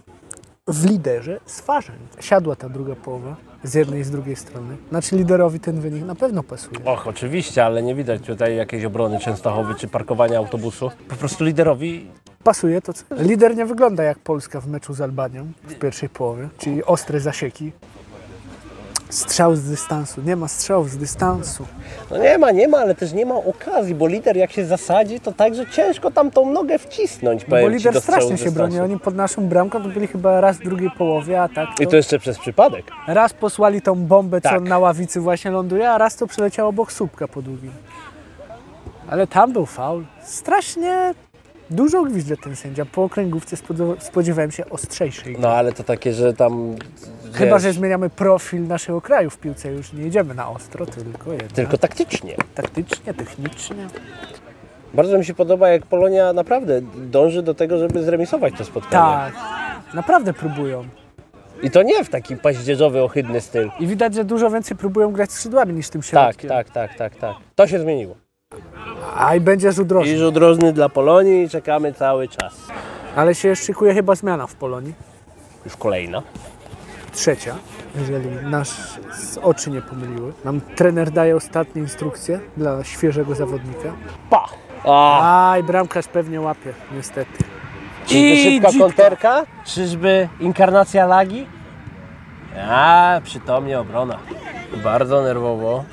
Speaker 1: w liderze z Farzeń. Siadła ta druga połowa z jednej i z drugiej strony. Znaczy liderowi ten wynik na pewno pasuje.
Speaker 2: Och, oczywiście, ale nie widać tutaj jakiejś obrony Częstochowy czy parkowania autobusu. Po prostu liderowi
Speaker 1: Pasuje to co? Lider nie wygląda jak Polska w meczu z Albanią w pierwszej połowie, czyli ostre zasieki. Strzał z dystansu. Nie ma strzałów z dystansu.
Speaker 2: no nie ma, nie ma, ale też nie ma okazji, bo lider jak się zasadzi, to także ciężko tam tą nogę wcisnąć.
Speaker 1: No Bo
Speaker 2: powiem ci, do
Speaker 1: lider
Speaker 2: strzału
Speaker 1: strasznie
Speaker 2: z
Speaker 1: się
Speaker 2: dystansu.
Speaker 1: broni. Oni pod naszą bramką to byli chyba raz w drugiej połowie, a tak to...
Speaker 2: I to jeszcze przez przypadek.
Speaker 1: Raz posłali tą bombę, co
Speaker 2: Tak.
Speaker 1: na ławicy właśnie ląduje, a raz to przyleciało obok słupka po długim. Ale tam był faul. Strasznie dużo gwizdę ten sędzia. Po okręgówce spodziewa- spodziewałem się ostrzejszej.
Speaker 2: No ale to takie, że tam...
Speaker 1: Chyba,
Speaker 2: wiesz,
Speaker 1: że zmieniamy profil naszego kraju w piłce. Już nie idziemy na ostro, tylko jednak.
Speaker 2: Tylko taktycznie.
Speaker 1: taktycznie, technicznie.
Speaker 2: Bardzo mi się podoba, jak Polonia naprawdę dąży do tego, żeby zremisować to spotkanie.
Speaker 1: Tak. Naprawdę próbują.
Speaker 2: I to nie w taki paździerzowy, ohydny styl.
Speaker 1: I widać, że dużo więcej próbują grać skrzydłami niż tym
Speaker 2: Tak,
Speaker 1: środkiem.
Speaker 2: tak, tak, tak, tak. To się zmieniło.
Speaker 1: A i będzie rzut rożny.
Speaker 2: I rzut rożny dla Polonii i czekamy cały czas.
Speaker 1: Ale się szykuje chyba zmiana w Polonii.
Speaker 2: Już kolejna.
Speaker 1: trzecia, jeżeli nasz z oczy nie pomyliły. Nam trener daje ostatnie instrukcje dla świeżego zawodnika.
Speaker 2: Pa! A,
Speaker 1: Aj, bramkarz pewnie łapie, niestety.
Speaker 2: czyżby
Speaker 1: i
Speaker 2: szybka
Speaker 1: dzika.
Speaker 2: konterka? Czyżby inkarnacja lagi? A, przytomnie obrona. Bardzo nerwowo.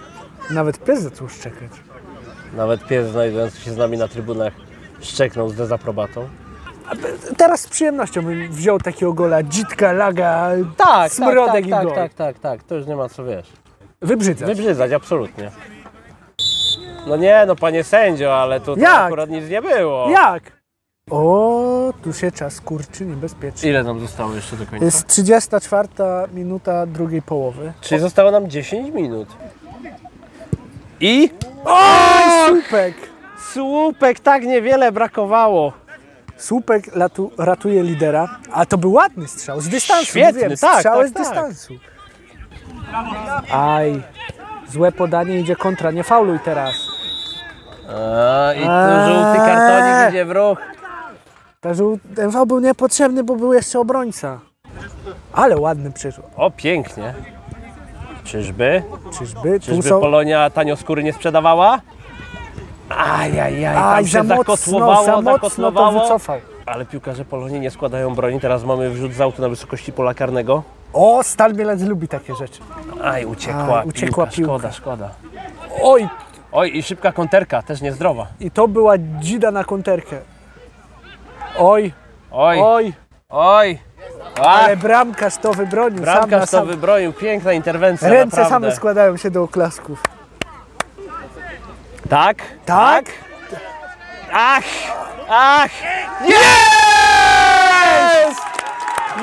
Speaker 1: Nawet pies zaczął szczekać.
Speaker 2: Nawet pies znajdujący się z nami na trybunach szczeknął z dezaprobatą.
Speaker 1: Teraz z przyjemnością bym wziął takiego gola, dzitka, laga,
Speaker 2: Tak,
Speaker 1: smrodek
Speaker 2: tak,
Speaker 1: i
Speaker 2: tak,
Speaker 1: gol.
Speaker 2: tak, tak, tak. To już nie ma co wiesz.
Speaker 1: Wybrzydza.
Speaker 2: Wybrzydzać, absolutnie. No nie, no panie sędzio, ale tutaj
Speaker 1: Jak?
Speaker 2: akurat nic nie było.
Speaker 1: Jak? O, tu się czas kurczy niebezpiecznie.
Speaker 2: Ile nam zostało jeszcze do końca?
Speaker 1: Jest 34 minuta drugiej połowy.
Speaker 2: Czyli zostało nam 10 minut. I
Speaker 1: Słupek!
Speaker 2: słupek, tak niewiele brakowało.
Speaker 1: Słupek latu, ratuje lidera, a to był ładny strzał, z dystansu,
Speaker 2: Świetny,
Speaker 1: mówiłem,
Speaker 2: tak,
Speaker 1: strzały
Speaker 2: tak,
Speaker 1: z
Speaker 2: tak.
Speaker 1: dystansu. Aj, złe podanie, idzie kontra, nie fauluj teraz.
Speaker 2: A, I tu
Speaker 1: Eee.
Speaker 2: żółty kartonik idzie w ruch.
Speaker 1: Ta żół- Ten faul był niepotrzebny, bo był jeszcze obrońca. Ale ładny przerzut.
Speaker 2: O, pięknie. Czyżby?
Speaker 1: Czyżby? Tu
Speaker 2: Czyżby
Speaker 1: są...
Speaker 2: Polonia tanio skóry nie sprzedawała? Ajajaj, tam
Speaker 1: Aj,
Speaker 2: się
Speaker 1: za mocno,
Speaker 2: zakotłowało,
Speaker 1: za mocno to
Speaker 2: zakotłowało.
Speaker 1: wycofał.
Speaker 2: Ale piłkarze Polonii nie składają broni. Teraz mamy wrzut z autu na wysokości pola karnego.
Speaker 1: O, Stal Mielec lubi takie rzeczy.
Speaker 2: Aj, uciekła,
Speaker 1: Aj, uciekła
Speaker 2: piłka.
Speaker 1: piłka.
Speaker 2: Szkoda, szkoda.
Speaker 1: Oj,
Speaker 2: Oj, i szybka konterka, też niezdrowa.
Speaker 1: i to była dzida na konterkę. Oj,
Speaker 2: Oj, oj,
Speaker 1: oj,
Speaker 2: A,
Speaker 1: ale bramkarz to wybronił. sam na
Speaker 2: bramkarz to
Speaker 1: sam.
Speaker 2: wybronił. Piękna interwencja,
Speaker 1: Ręce
Speaker 2: naprawdę.
Speaker 1: same składają się do oklasków.
Speaker 2: Tak?
Speaker 1: Tak?
Speaker 2: Ach! Ach! Jest!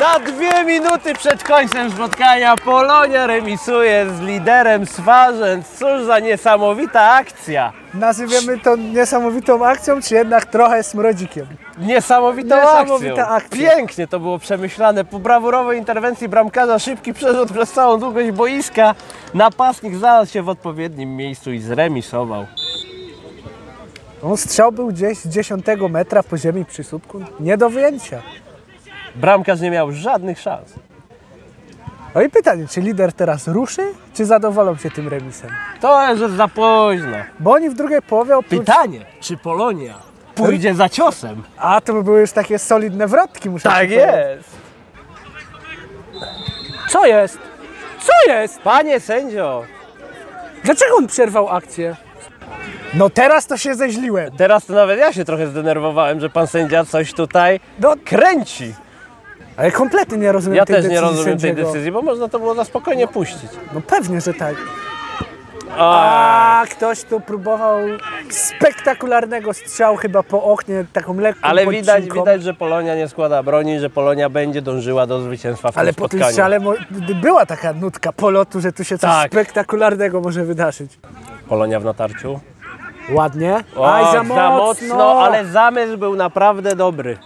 Speaker 2: Na dwie minuty przed końcem spotkania Polonia remisuje z liderem Swarzędz. Cóż za niesamowita akcja!
Speaker 1: Nazywamy to niesamowitą akcją, czy jednak trochę smrodzikiem?
Speaker 2: Niesamowitą
Speaker 1: Niesamowita
Speaker 2: akcją.
Speaker 1: akcja.
Speaker 2: Pięknie to było przemyślane. Po brawurowej interwencji bramkarza szybki przerzut przez całą długość boiska. Napastnik znalazł się w odpowiednim miejscu i zremisował.
Speaker 1: On No, strzał był gdzieś z 10 metra po ziemi przy słupku. Nie do wyjęcia.
Speaker 2: Bramkarz nie miał żadnych szans.
Speaker 1: No i pytanie, czy lider teraz ruszy, czy zadowolą się tym remisem?
Speaker 2: To jest już za późno.
Speaker 1: Bo oni w drugiej połowie oprócz...
Speaker 2: Pytanie, czy Polonia pójdzie za ciosem?
Speaker 1: A to by były już takie solidne wrotki,
Speaker 2: Tak
Speaker 1: muszę ci powiedzieć.
Speaker 2: Co jest?
Speaker 1: Co jest?
Speaker 2: Panie sędzio,
Speaker 1: Dlaczego on przerwał akcję? No teraz to się zeźliłem.
Speaker 2: teraz to nawet ja się trochę zdenerwowałem, że pan sędzia coś tutaj
Speaker 1: No,
Speaker 2: kręci.
Speaker 1: ale kompletnie nie rozumiem
Speaker 2: Ja
Speaker 1: tej
Speaker 2: też nie
Speaker 1: decyzji
Speaker 2: rozumiem tej
Speaker 1: sędziego.
Speaker 2: decyzji, bo można to było na spokojnie puścić.
Speaker 1: No pewnie, że tak.
Speaker 2: A,
Speaker 1: A ktoś tu próbował spektakularnego strzału chyba po oknie, taką lekką
Speaker 2: ale widać,
Speaker 1: podcinką.
Speaker 2: widać, że Polonia nie składa broni, że Polonia będzie dążyła do zwycięstwa w tym
Speaker 1: Ale po
Speaker 2: spotkaniu.
Speaker 1: tym strzale mo- d- była taka nutka polotu, że tu się coś
Speaker 2: Tak.
Speaker 1: spektakularnego może wydarzyć.
Speaker 2: Polonia w natarciu.
Speaker 1: Ładnie.
Speaker 2: O,
Speaker 1: Aj, za
Speaker 2: za
Speaker 1: mocno.
Speaker 2: mocno, ale zamysł był naprawdę dobry.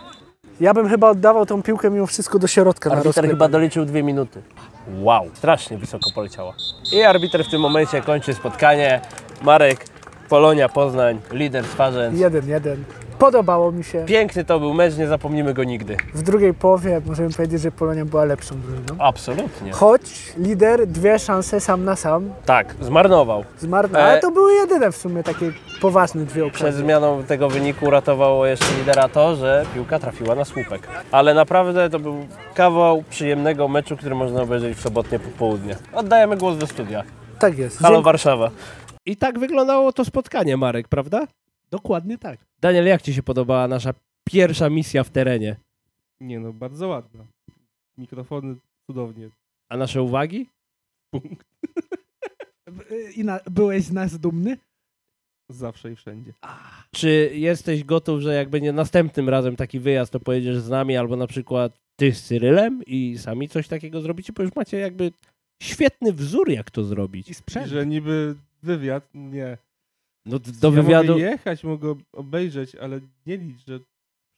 Speaker 1: Ja bym chyba oddawał tą piłkę mimo wszystko do środka na
Speaker 2: Arbiter
Speaker 1: rozklepanie.
Speaker 2: chyba doliczył dwie minuty. Wow, strasznie wysoko poleciała. I arbiter w tym momencie kończy spotkanie. Marek, Polonia, Poznań, lider Swarzędz.
Speaker 1: Jeden, jeden. Podobało mi się.
Speaker 2: Piękny to był mecz, nie zapomnimy go nigdy.
Speaker 1: W drugiej połowie możemy powiedzieć, że Polonia była lepszą drużyną.
Speaker 2: Absolutnie.
Speaker 1: Choć lider dwie szanse sam na sam
Speaker 2: Tak, zmarnował.
Speaker 1: zmarnował.
Speaker 2: E.
Speaker 1: Ale to były jedyne w sumie takie poważne dwie
Speaker 2: Przed
Speaker 1: okazje.
Speaker 2: zmianą tego wyniku uratowało jeszcze lidera to, że piłka trafiła na słupek. Ale naprawdę to był kawał przyjemnego meczu, który można obejrzeć w sobotnie popołudnie. Oddajemy głos do studia.
Speaker 1: Tak jest.
Speaker 2: Halo
Speaker 1: Dziękuję.
Speaker 2: Warszawa.
Speaker 4: I tak wyglądało to spotkanie, Marek, prawda?
Speaker 5: Dokładnie tak.
Speaker 4: Daniel, jak ci się podobała nasza pierwsza misja w terenie?
Speaker 3: Nie no, bardzo ładna. Mikrofony cudownie.
Speaker 4: A nasze uwagi?
Speaker 3: Punkt.
Speaker 5: Y, I na, byłeś z nas dumny?
Speaker 3: Zawsze i wszędzie.
Speaker 4: Czy jesteś gotów, że jak będzie następnym razem taki wyjazd, to pojedziesz z nami albo na przykład ty z Cyrylem i sami coś takiego zrobicie, bo już macie jakby świetny wzór, jak to zrobić.
Speaker 5: I sprzęt.
Speaker 3: Że niby wywiad, nie.
Speaker 4: No d- do
Speaker 3: ja
Speaker 4: wywiadu...
Speaker 3: mogę jechać, mogę obejrzeć, ale nie licz, że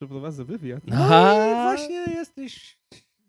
Speaker 3: przeprowadzę wywiad.
Speaker 5: No i
Speaker 4: Aha.
Speaker 5: właśnie jesteś,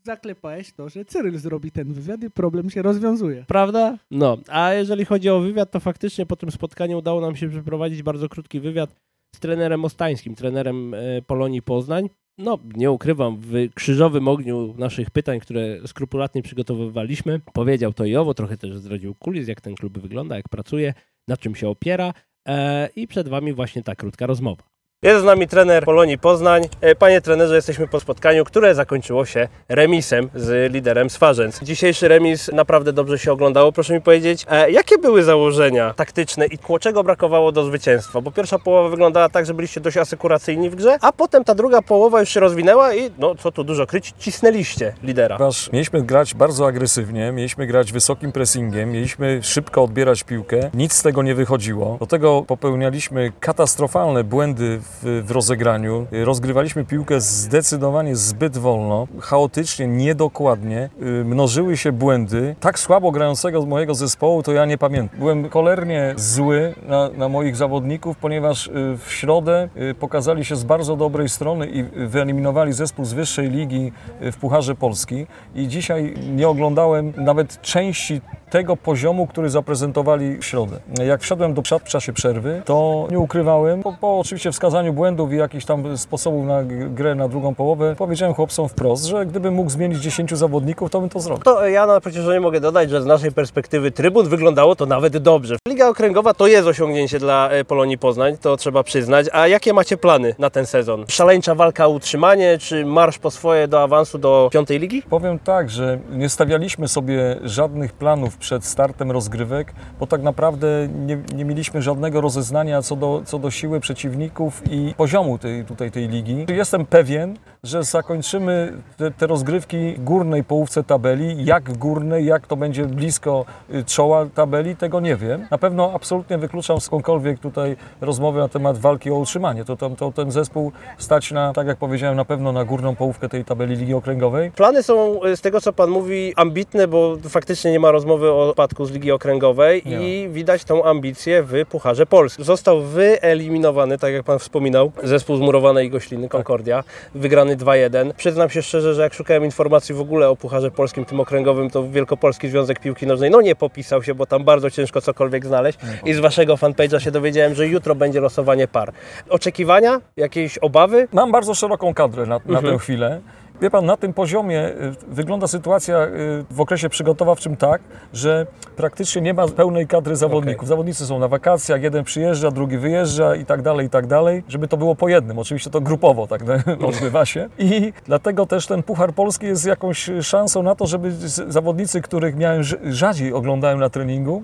Speaker 5: zaklepałeś to, że Cyryl zrobi ten wywiad i problem się rozwiązuje.
Speaker 4: Prawda? No, a jeżeli chodzi o wywiad, to faktycznie po tym spotkaniu udało nam się przeprowadzić bardzo krótki wywiad z trenerem Ostańskim, trenerem e, Polonii Poznań. No, nie ukrywam, w krzyżowym ogniu naszych pytań, które skrupulatnie przygotowywaliśmy, powiedział to i owo, trochę też zdradził kulis, jak ten klub wygląda, jak pracuje, na czym się opiera e, i przed Wami właśnie ta krótka rozmowa.
Speaker 2: Jest z nami trener Polonii Poznań. E, Panie trenerze, jesteśmy po spotkaniu, które zakończyło się remisem z liderem Swarzędz. Dzisiejszy remis naprawdę dobrze się oglądało. Proszę mi powiedzieć, e, jakie były założenia taktyczne i ku- czego brakowało do zwycięstwa? Bo pierwsza połowa wyglądała tak, że byliście dość asekuracyjni w grze, a potem ta druga połowa już się rozwinęła i no co tu dużo kryć, cisnęliście lidera.
Speaker 6: Ponieważ mieliśmy grać bardzo agresywnie, mieliśmy grać wysokim pressingiem, mieliśmy szybko odbierać piłkę, nic z tego nie wychodziło. Do tego popełnialiśmy katastrofalne błędy w, w rozegraniu, Y, rozgrywaliśmy piłkę zdecydowanie zbyt wolno, chaotycznie, niedokładnie, Y, mnożyły się błędy. Tak słabo grającego z mojego zespołu to ja nie pamiętam. Byłem cholernie zły na, na moich zawodników, ponieważ y, w środę y, pokazali się z bardzo dobrej strony i wyeliminowali zespół z wyższej ligi y, w Pucharze Polski i dzisiaj nie oglądałem nawet części tego poziomu, który zaprezentowali w środę. Jak wszedłem do szat w czasie przerwy, to nie ukrywałem, po, po oczywiście wskazaniu błędów i jakichś tam sposobów na g- grę na drugą połowę, powiedziałem chłopcom wprost, że gdybym mógł zmienić 10 zawodników, to bym to zrobił.
Speaker 2: To e, ja na przeciążeniu mogę dodać, że z naszej perspektywy trybun wyglądało to nawet dobrze. Liga Okręgowa to jest osiągnięcie dla e, Polonii Poznań, to trzeba przyznać. A jakie macie plany na ten sezon? Szaleńcza walka o utrzymanie, czy marsz po swoje do awansu do piątej ligi?
Speaker 6: Powiem tak, że nie stawialiśmy sobie żadnych planów przed startem rozgrywek, bo tak naprawdę nie, nie mieliśmy żadnego rozeznania co do, co do siły przeciwników i poziomu tej, tutaj tej ligi. Jestem pewien, że zakończymy te, te rozgrywki w górnej połówce tabeli. Jak w górnej, jak to będzie blisko y, czoła tabeli, tego nie wiem. Na pewno absolutnie wykluczam skądkolwiek tutaj rozmowy na temat walki o utrzymanie. To, tam, to ten zespół stać na, tak jak powiedziałem, na pewno na górną połówkę tej tabeli Ligi Okręgowej.
Speaker 2: Plany są, e, z tego co Pan mówi, ambitne, bo faktycznie nie ma rozmowy o spadku z Ligi Okręgowej
Speaker 6: Nie
Speaker 2: i widać tą ambicję w Pucharze Polski. Został wyeliminowany, tak jak Pan wspominał, zespół z murowanej Gośliny, Concordia, wygrany
Speaker 7: 2-1. Przyznam się szczerze, że jak szukałem informacji w ogóle o Pucharze Polskim, tym okręgowym, to Wielkopolski Związek Piłki Nożnej no nie popisał się, bo tam bardzo ciężko cokolwiek znaleźć. I z waszego fanpage'a się dowiedziałem, że jutro będzie losowanie par. Oczekiwania? Jakieś obawy?
Speaker 6: Mam bardzo szeroką kadrę na, na tę chwilę. Wie pan, na tym poziomie y, wygląda sytuacja y, w okresie przygotowawczym tak, że praktycznie nie ma pełnej kadry zawodników. Zawodnicy są na wakacjach, jeden przyjeżdża, drugi wyjeżdża i tak dalej, i tak dalej, żeby to było po jednym. Oczywiście to grupowo tak no, [LAUGHS] odbywa się. I dlatego też ten Puchar Polski jest jakąś szansą na to, żeby z- zawodnicy, których miałem rz- rzadziej oglądałem na treningu,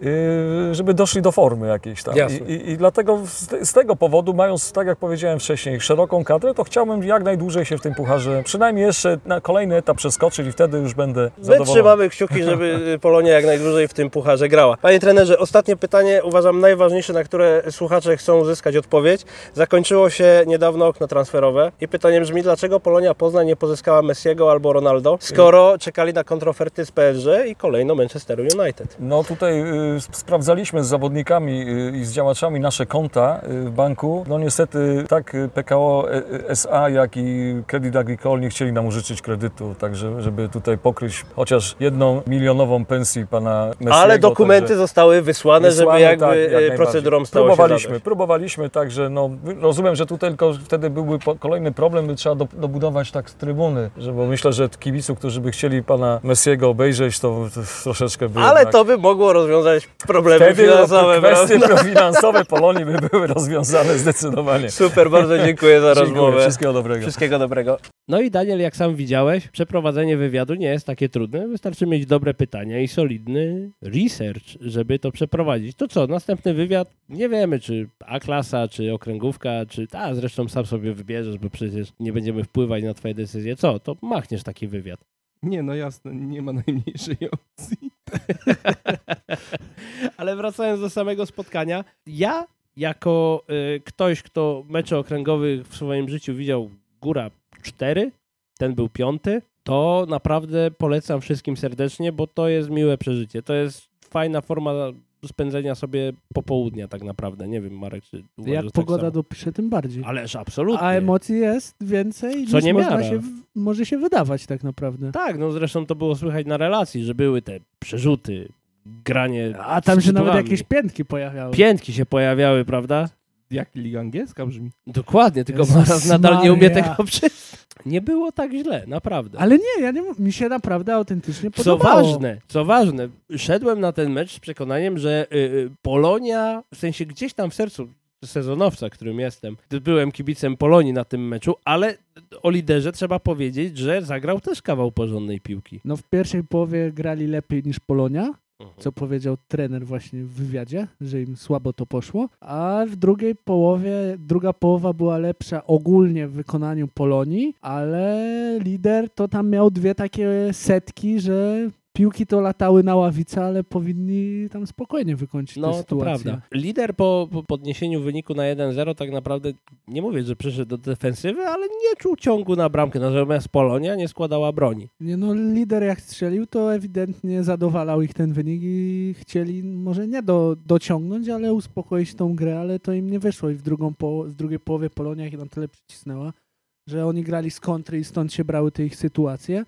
Speaker 6: yy, żeby doszli do formy jakiejś tam.
Speaker 7: Jasne.
Speaker 6: I, i, I dlatego z, te- z tego powodu, mając, tak jak powiedziałem wcześniej, szeroką kadrę, to chciałbym jak najdłużej się w tym pucharze, przynajmniej jeszcze na kolejny etap przeskoczyć i wtedy już będę
Speaker 7: My
Speaker 6: zadowolony.
Speaker 7: trzymamy kciuki, żeby
Speaker 6: [LAUGHS]
Speaker 7: Polonia jak najdłużej w tym pucharze grała. Panie trenerze, ostatnie pytanie, uważam najważniejsze, na które słuchacze chcą uzyskać odpowiedź. Zakończyło się niedawno okno transferowe i pytanie brzmi, dlaczego Polonia Poznań nie pozyskała Messiego albo Ronaldo, skoro czekali na kontroferty z PSG i kolejno Manchesteru United.
Speaker 6: No tutaj y, sp- sprawdzaliśmy z zawodnikami y, i z działaczami nasze konta y, w banku. No niestety tak y, PKO e- e- SA, jak i Credit Agricole nie chcieli nam użyczyć kredytu, także żeby tutaj pokryć chociaż jedną milionową pensję pana Messiego.
Speaker 7: Ale dokumenty
Speaker 6: także-
Speaker 7: zostały wysłane, żeby
Speaker 6: Wysłane,
Speaker 7: jakby
Speaker 6: tak,
Speaker 7: e,
Speaker 6: jak najbardziej.
Speaker 7: procedurom stało się
Speaker 6: próbowaliśmy,
Speaker 7: zadość.
Speaker 6: Próbowaliśmy, także no, rozumiem, że tu tylko wtedy byłby po, kolejny problem, by trzeba do, dobudować tak trybuny, że, bo myślę, że kibiców, którzy by chcieli pana Messiego obejrzeć, to, to troszeczkę by
Speaker 7: Ale
Speaker 6: jednak...
Speaker 7: to by mogło rozwiązać problemy
Speaker 6: Wtedy
Speaker 7: finansowe.
Speaker 6: kwestie
Speaker 7: prawda?
Speaker 6: finansowe Polonii by były rozwiązane
Speaker 7: [LAUGHS]
Speaker 6: zdecydowanie.
Speaker 7: Super, bardzo dziękuję za rozmowę.
Speaker 6: Dziękuję, wszystkiego dobrego.
Speaker 7: Wszystkiego dobrego.
Speaker 2: No i Daniel, jak sam widziałeś, przeprowadzenie wywiadu nie jest takie trudne. Wystarczy mieć dobre pytania i solidny research, żeby to przeprowadzić. To co, następny wywiad? Nie wiemy, czy A-klasa, czy okręgówka, czy ta, zresztą sam sobie wybierzesz, bo przecież nie będziemy wpływać na twoje decyzje. Co, to machniesz taki wywiad.
Speaker 3: Nie, no jasne, nie ma [LAUGHS] najmniejszej opcji.
Speaker 2: Ale wracając do samego spotkania, ja jako y, ktoś, kto mecze okręgowych w swoim życiu widział góra 4, ten był piąty, to naprawdę polecam wszystkim serdecznie, bo to jest miłe przeżycie. To jest fajna forma spędzenia sobie popołudnia tak naprawdę. Nie wiem, Marek, czy uważasz
Speaker 1: Jak
Speaker 2: tak
Speaker 1: pogoda
Speaker 2: samo?
Speaker 1: dopisze, tym bardziej.
Speaker 2: Ależ absolutnie.
Speaker 1: A emocji jest więcej
Speaker 2: Co
Speaker 1: niż
Speaker 2: nie
Speaker 1: można
Speaker 2: miara.
Speaker 1: się, w- może się wydawać tak naprawdę.
Speaker 2: Tak, no zresztą to było słychać na relacji, że były te przerzuty, granie
Speaker 1: A tam
Speaker 2: z
Speaker 1: się nawet
Speaker 2: tytułami.
Speaker 1: jakieś piętki pojawiały.
Speaker 2: Piętki się pojawiały, prawda?
Speaker 3: Jak liga angielska brzmi.
Speaker 2: Dokładnie, tylko
Speaker 1: Jezus
Speaker 2: Maras nadal nie
Speaker 1: Maria.
Speaker 2: umie tego przyznać. Nie było tak źle, naprawdę.
Speaker 1: Ale nie, ja nie, m- mi się naprawdę autentycznie
Speaker 2: co
Speaker 1: podobało.
Speaker 2: ważne, co ważne, szedłem na ten mecz z przekonaniem, że y, y, Polonia, w sensie gdzieś tam w sercu sezonowca, którym jestem, byłem kibicem Polonii na tym meczu, ale o liderze trzeba powiedzieć, że zagrał też kawał porządnej piłki.
Speaker 1: No w pierwszej połowie grali lepiej niż Polonia,
Speaker 2: Mhm.
Speaker 1: co powiedział trener właśnie w wywiadzie, że im słabo to poszło, a w drugiej połowie, druga połowa była lepsza ogólnie w wykonaniu Polonii, ale lider to tam miał dwie takie setki, że piłki to latały na ławicę, ale powinni tam spokojnie wykończyć tę
Speaker 2: No, to
Speaker 1: sytuację.
Speaker 2: prawda. Lider po, po podniesieniu wyniku na 1-0 tak naprawdę, nie mówię, że przeszedł do defensywy, ale nie czuł ciągu na bramkę, natomiast Polonia nie składała broni.
Speaker 1: Nie no, lider jak strzelił, to ewidentnie zadowalał ich ten wynik i chcieli może nie do, dociągnąć, ale uspokoić tą grę, ale to im nie wyszło i w, drugą po, w drugiej połowie Polonia ich na tyle przycisnęła, że oni grali z kontry i stąd się brały te ich sytuacje,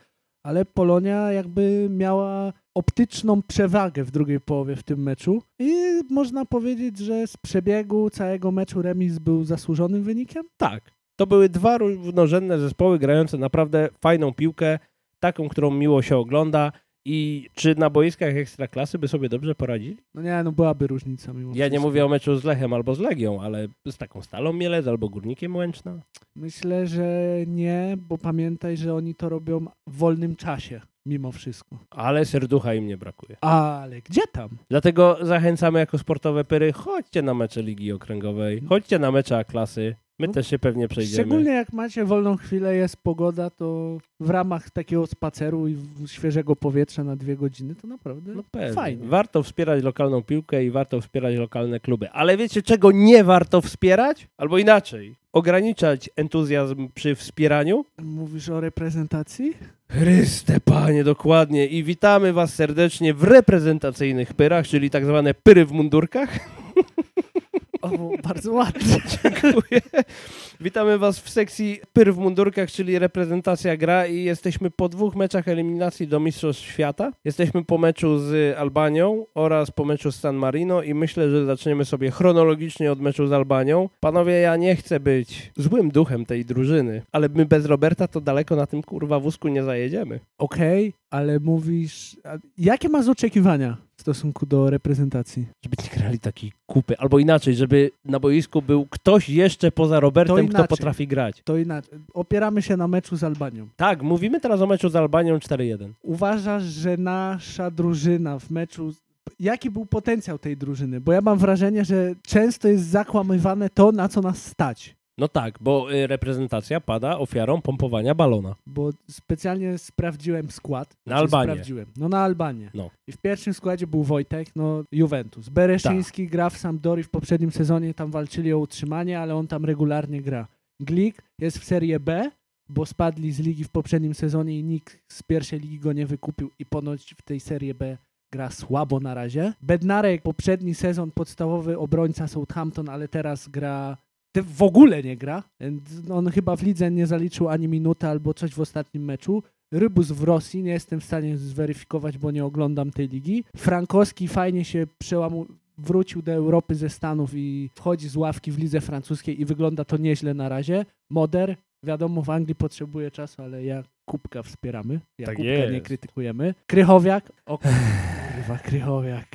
Speaker 1: ale Polonia jakby miała optyczną przewagę w drugiej połowie w tym meczu i można powiedzieć, że z przebiegu całego meczu remis był zasłużonym wynikiem.
Speaker 2: Tak. To były dwa równorzędne zespoły grające naprawdę fajną piłkę, taką, którą miło się ogląda. I czy na boiskach ekstraklasy by sobie dobrze poradzili?
Speaker 1: No nie, no byłaby różnica mimo
Speaker 2: Ja nie
Speaker 1: wszystko.
Speaker 2: mówię o meczu z Lechem albo z Legią, ale z taką Stalą Mielec albo Górnikiem Łęczna.
Speaker 1: Myślę, że nie, bo pamiętaj, że oni to robią w wolnym czasie, mimo wszystko.
Speaker 2: Ale serducha im nie brakuje.
Speaker 1: Ale gdzie tam?
Speaker 2: Dlatego zachęcamy jako sportowe pyry, chodźcie na mecze Ligi Okręgowej, chodźcie na mecze A-klasy. My
Speaker 1: No,
Speaker 2: też się pewnie przejdziemy.
Speaker 1: Szczególnie jak macie wolną chwilę, jest pogoda, to w ramach takiego spaceru i w- świeżego powietrza na dwie godziny, to naprawdę
Speaker 2: No pewnie.
Speaker 1: fajnie.
Speaker 2: Warto wspierać lokalną piłkę i warto wspierać lokalne kluby. Ale wiecie, czego nie warto wspierać? Albo inaczej, ograniczać entuzjazm przy wspieraniu?
Speaker 1: Mówisz o reprezentacji?
Speaker 2: Chryste panie, dokładnie. I witamy was serdecznie w reprezentacyjnych pyrach, czyli tak zwane pyry w mundurkach.
Speaker 1: O, było bardzo ładnie. [LAUGHS]
Speaker 2: Dziękuję. Witamy Was w sekcji Pyr w mundurkach, czyli reprezentacja gra i jesteśmy po dwóch meczach eliminacji do Mistrzostw Świata. Jesteśmy po meczu z Albanią oraz po meczu z San Marino i myślę, że zaczniemy sobie chronologicznie od meczu z Albanią. Panowie, ja nie chcę być złym duchem tej drużyny, ale my bez Roberta to daleko na tym kurwa wózku nie zajedziemy.
Speaker 1: Okej, ale mówisz... a Jakie masz oczekiwania w stosunku do reprezentacji?
Speaker 2: Żeby nie grali takiej kupy, albo inaczej, żeby na boisku był ktoś jeszcze poza Robertem, kto
Speaker 1: inaczej.
Speaker 2: potrafi grać.
Speaker 1: To inaczej. Opieramy się na meczu z Albanią.
Speaker 2: Tak, mówimy teraz o meczu z Albanią 4-1.
Speaker 1: Uważasz, że nasza drużyna w meczu. Jaki był potencjał tej drużyny? Bo ja mam wrażenie, że często jest zakłamywane to, na co nas stać.
Speaker 2: No tak, bo y, reprezentacja pada ofiarą pompowania balona.
Speaker 1: Bo specjalnie sprawdziłem skład.
Speaker 2: Na
Speaker 1: Znaczy,
Speaker 2: Albanię.
Speaker 1: Sprawdziłem. No na Albanię.
Speaker 2: No.
Speaker 1: I w pierwszym składzie był Wojtek, no Juventus. Bereszyński gra w Sampdori w poprzednim sezonie, tam walczyli o utrzymanie, ale on tam regularnie gra. Glik jest w Serie B, bo spadli z ligi w poprzednim sezonie i nikt z pierwszej ligi go nie wykupił i ponoć w tej Serie B gra słabo na razie. Bednarek poprzedni sezon podstawowy obrońca Southampton, ale teraz gra te- w ogóle nie gra. On chyba w lidze nie zaliczył ani minuty albo coś w ostatnim meczu. Rybus w Rosji, nie jestem w stanie zweryfikować, bo nie oglądam tej ligi. Frankowski fajnie się przełamu wrócił do Europy ze Stanów i wchodzi z ławki w lidze francuskiej i wygląda to nieźle na razie. Moder, wiadomo, w Anglii potrzebuje czasu, ale ja Kubka wspieramy. Ja
Speaker 2: Tak
Speaker 1: Kubka nie
Speaker 2: jest.
Speaker 1: krytykujemy. Krychowiak.
Speaker 2: [LAUGHS]
Speaker 1: O kurwa, Krychowiak.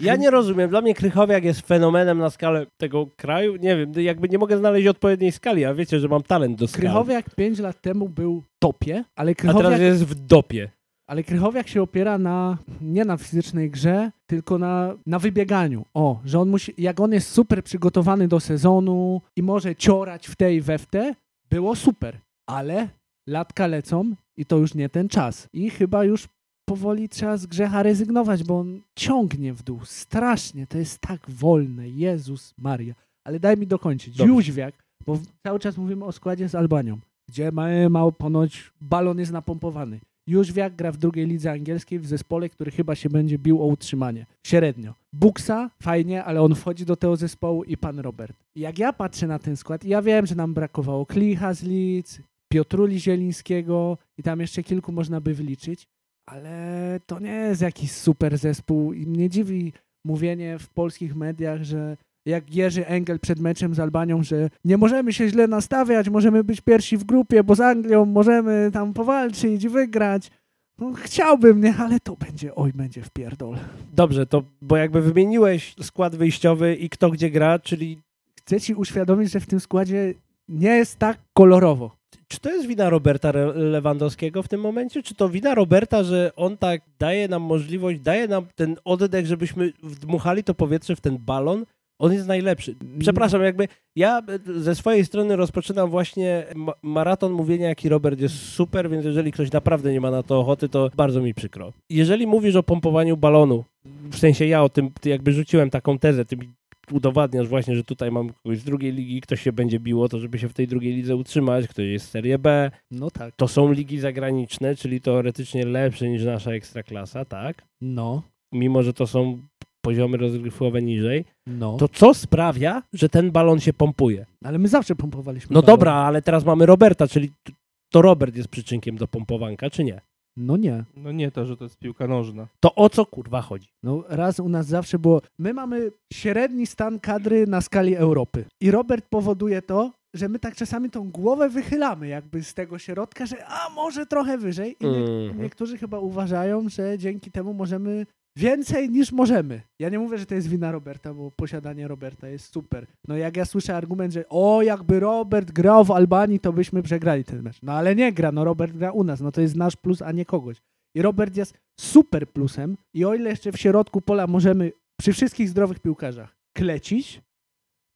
Speaker 2: Ja nie rozumiem, dla mnie Krychowiak jest fenomenem na skalę tego kraju. Nie wiem, no jakby nie mogę znaleźć odpowiedniej skali, a wiecie, że mam talent do skali.
Speaker 1: Krychowiak 5 lat temu był w topie, ale
Speaker 2: a
Speaker 1: Krychowiak,
Speaker 2: teraz jest w dopie.
Speaker 1: ale Krychowiak się opiera na, nie na fizycznej grze, tylko na, na wybieganiu. O, że on musi, jak on jest super przygotowany do sezonu i może ciorać w tej, we w te, było super, ale latka lecą i to już nie ten czas. I chyba już powoli trzeba z grzecha rezygnować, bo on ciągnie w dół. Strasznie, to jest tak wolne. Jezus Maria. Ale daj mi dokończyć.
Speaker 2: Dobrze.
Speaker 1: Jóźwiak, bo w- cały czas mówimy o składzie z Albanią, gdzie mają ma, ponoć balon jest napompowany. Jóźwiak gra w drugiej lidze angielskiej w zespole, który chyba się będzie bił o utrzymanie. Średnio. Buksa, fajnie, ale on wchodzi do tego zespołu i pan Robert. Jak ja patrzę na ten skład, ja wiem, że nam brakowało Klicha z Lidz, Piotruli Zielińskiego i tam jeszcze kilku można by wyliczyć, ale to nie jest jakiś super zespół i mnie dziwi mówienie w polskich mediach, że jak Jerzy Engel przed meczem z Albanią, że nie możemy się źle nastawiać, możemy być pierwsi w grupie, bo z Anglią możemy tam powalczyć i wygrać. No, chciałbym, nie, ale to będzie, oj, będzie w pierdol.
Speaker 2: Dobrze, to bo jakby wymieniłeś skład wyjściowy i kto gdzie gra, czyli
Speaker 1: Chcę ci uświadomić, że w tym składzie nie jest tak kolorowo.
Speaker 2: czy to jest wina Roberta Re- Lewandowskiego w tym momencie, czy to wina Roberta, że on tak daje nam możliwość, daje nam ten oddech, żebyśmy wdmuchali to powietrze w ten balon? On jest najlepszy. Przepraszam, jakby ja e, ze swojej strony rozpoczynam właśnie ma- maraton mówienia, jaki Robert jest super, więc jeżeli ktoś naprawdę nie ma na to ochoty, to bardzo mi przykro. Jeżeli mówisz o pompowaniu balonu, w sensie ja o tym ty jakby rzuciłem taką tezę, ty mi udowadniasz właśnie, że tutaj mam kogoś z drugiej ligi, ktoś się będzie biło, to żeby się w tej drugiej lidze utrzymać, ktoś jest z Serie B,
Speaker 1: No tak.
Speaker 2: to są ligi zagraniczne, czyli teoretycznie lepsze niż nasza ekstraklasa, tak?
Speaker 1: No,
Speaker 2: Mimo, że to są poziomy rozgrywkowe niżej,
Speaker 1: no.
Speaker 2: to co sprawia, że ten balon się pompuje?
Speaker 1: Ale my zawsze pompowaliśmy.
Speaker 2: No
Speaker 1: balon.
Speaker 2: dobra, ale teraz mamy Roberta, czyli t- to Robert jest przyczynkiem do pompowanka, czy nie?
Speaker 1: No nie.
Speaker 3: No nie to, że to jest piłka nożna.
Speaker 2: To o co kurwa chodzi?
Speaker 1: No raz u nas zawsze było. My mamy średni stan kadry na skali Europy. I Robert powoduje to, że my tak czasami tą głowę wychylamy jakby z tego środka, że a może trochę wyżej. I nie,
Speaker 2: Mhm.
Speaker 1: niektórzy chyba uważają, że dzięki temu możemy więcej niż możemy. Ja nie mówię, że to jest wina Roberta, bo posiadanie Roberta jest super. No jak ja słyszę argument, że o, jakby Robert grał w Albanii, to byśmy przegrali ten mecz. No ale nie gra, no Robert gra u nas, no to jest nasz plus, a nie kogoś. I Robert jest super plusem i o ile jeszcze w środku pola możemy przy wszystkich zdrowych piłkarzach klecić,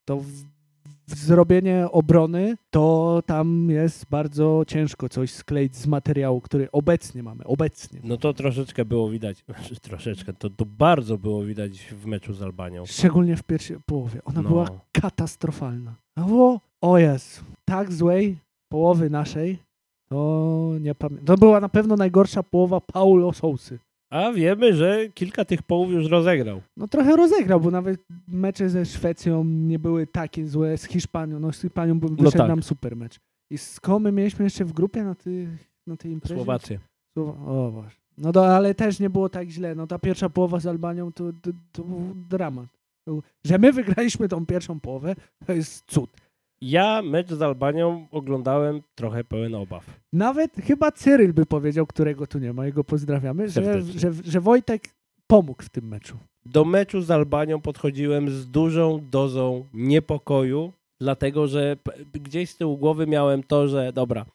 Speaker 1: to w, w zrobienie obrony to tam jest bardzo ciężko coś skleić z materiału, który obecnie mamy, obecnie.
Speaker 2: No to troszeczkę było widać, [LAUGHS] znaczy troszeczkę, to, to bardzo było widać w meczu z Albanią.
Speaker 1: Szczególnie w pierwszej połowie. Ona
Speaker 2: No.
Speaker 1: była katastrofalna. Albo, o Jezu, tak złej połowy naszej, to nie pamiętam. To była na pewno najgorsza połowa Paulo Sousy.
Speaker 2: a wiemy, że kilka tych połów już rozegrał.
Speaker 1: No trochę rozegrał, bo nawet mecze ze Szwecją nie były takie złe, z Hiszpanią. No z Hiszpanią był, wyszedł
Speaker 2: tak.
Speaker 1: nam super mecz. I z Komy mieliśmy jeszcze w grupie na, ty, na tej imprezie.
Speaker 2: Słowację.
Speaker 1: Słowa- O Boże. No do, ale też nie było tak źle. No ta pierwsza połowa z Albanią to, to, to był dramat. To- Że my wygraliśmy tą pierwszą połowę, to jest cud.
Speaker 2: Ja mecz z Albanią oglądałem trochę pełen obaw.
Speaker 1: Nawet chyba Cyryl by powiedział, którego tu nie ma, jego pozdrawiamy, że,
Speaker 2: Serdecznie.
Speaker 1: że, że Wojtek pomógł w tym meczu.
Speaker 2: Do meczu z Albanią podchodziłem z dużą dozą niepokoju, dlatego że p- gdzieś z tyłu głowy miałem to, że dobra,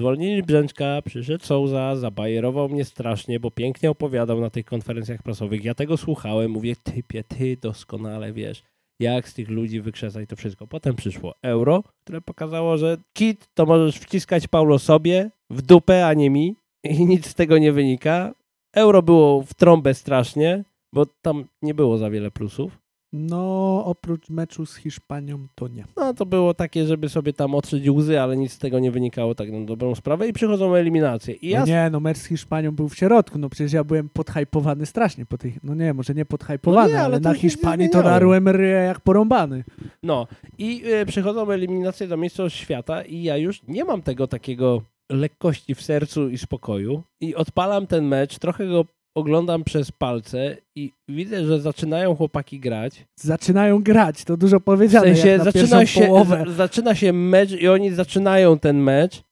Speaker 2: zwolnili Brzęczka, przyszedł Souza, zabajerował mnie strasznie, bo pięknie opowiadał na tych konferencjach prasowych. Ja tego słuchałem, mówię, typie, ty doskonale wiesz, jak z tych ludzi wykrzesać to wszystko. Potem przyszło euro, które pokazało, że kit to możesz wciskać Paulo sobie w dupę, a nie mi i nic z tego nie wynika. Euro było w trąbę strasznie, bo tam nie było za wiele plusów.
Speaker 1: No, oprócz meczu z Hiszpanią to nie.
Speaker 2: No to było takie, żeby sobie tam otrzeć łzy, ale nic z tego nie wynikało tak na dobrą sprawę i przychodzą eliminacje. I ja
Speaker 1: No nie, no mecz z Hiszpanią był w środku, no przecież ja byłem podhypowany strasznie po tych, no nie, może nie podhypowany,
Speaker 2: No nie, ale
Speaker 1: ale,
Speaker 2: to
Speaker 1: na
Speaker 2: się nie
Speaker 1: Hiszpanii to
Speaker 2: zmieniało.
Speaker 1: darłem ryja jak porąbany.
Speaker 2: No i e, przychodzą eliminacje do Mistrzostw Świata i ja już nie mam tego takiego lekkości w sercu i spokoju i odpalam ten mecz, trochę go oglądam przez palce i widzę, że zaczynają chłopaki grać.
Speaker 1: Zaczynają grać, to dużo
Speaker 2: W
Speaker 1: powiedziane,
Speaker 2: sensie
Speaker 1: jak na
Speaker 2: zaczyna
Speaker 1: pierwszą
Speaker 2: się,
Speaker 1: połowę.
Speaker 2: z- zaczyna się mecz i oni zaczynają ten mecz.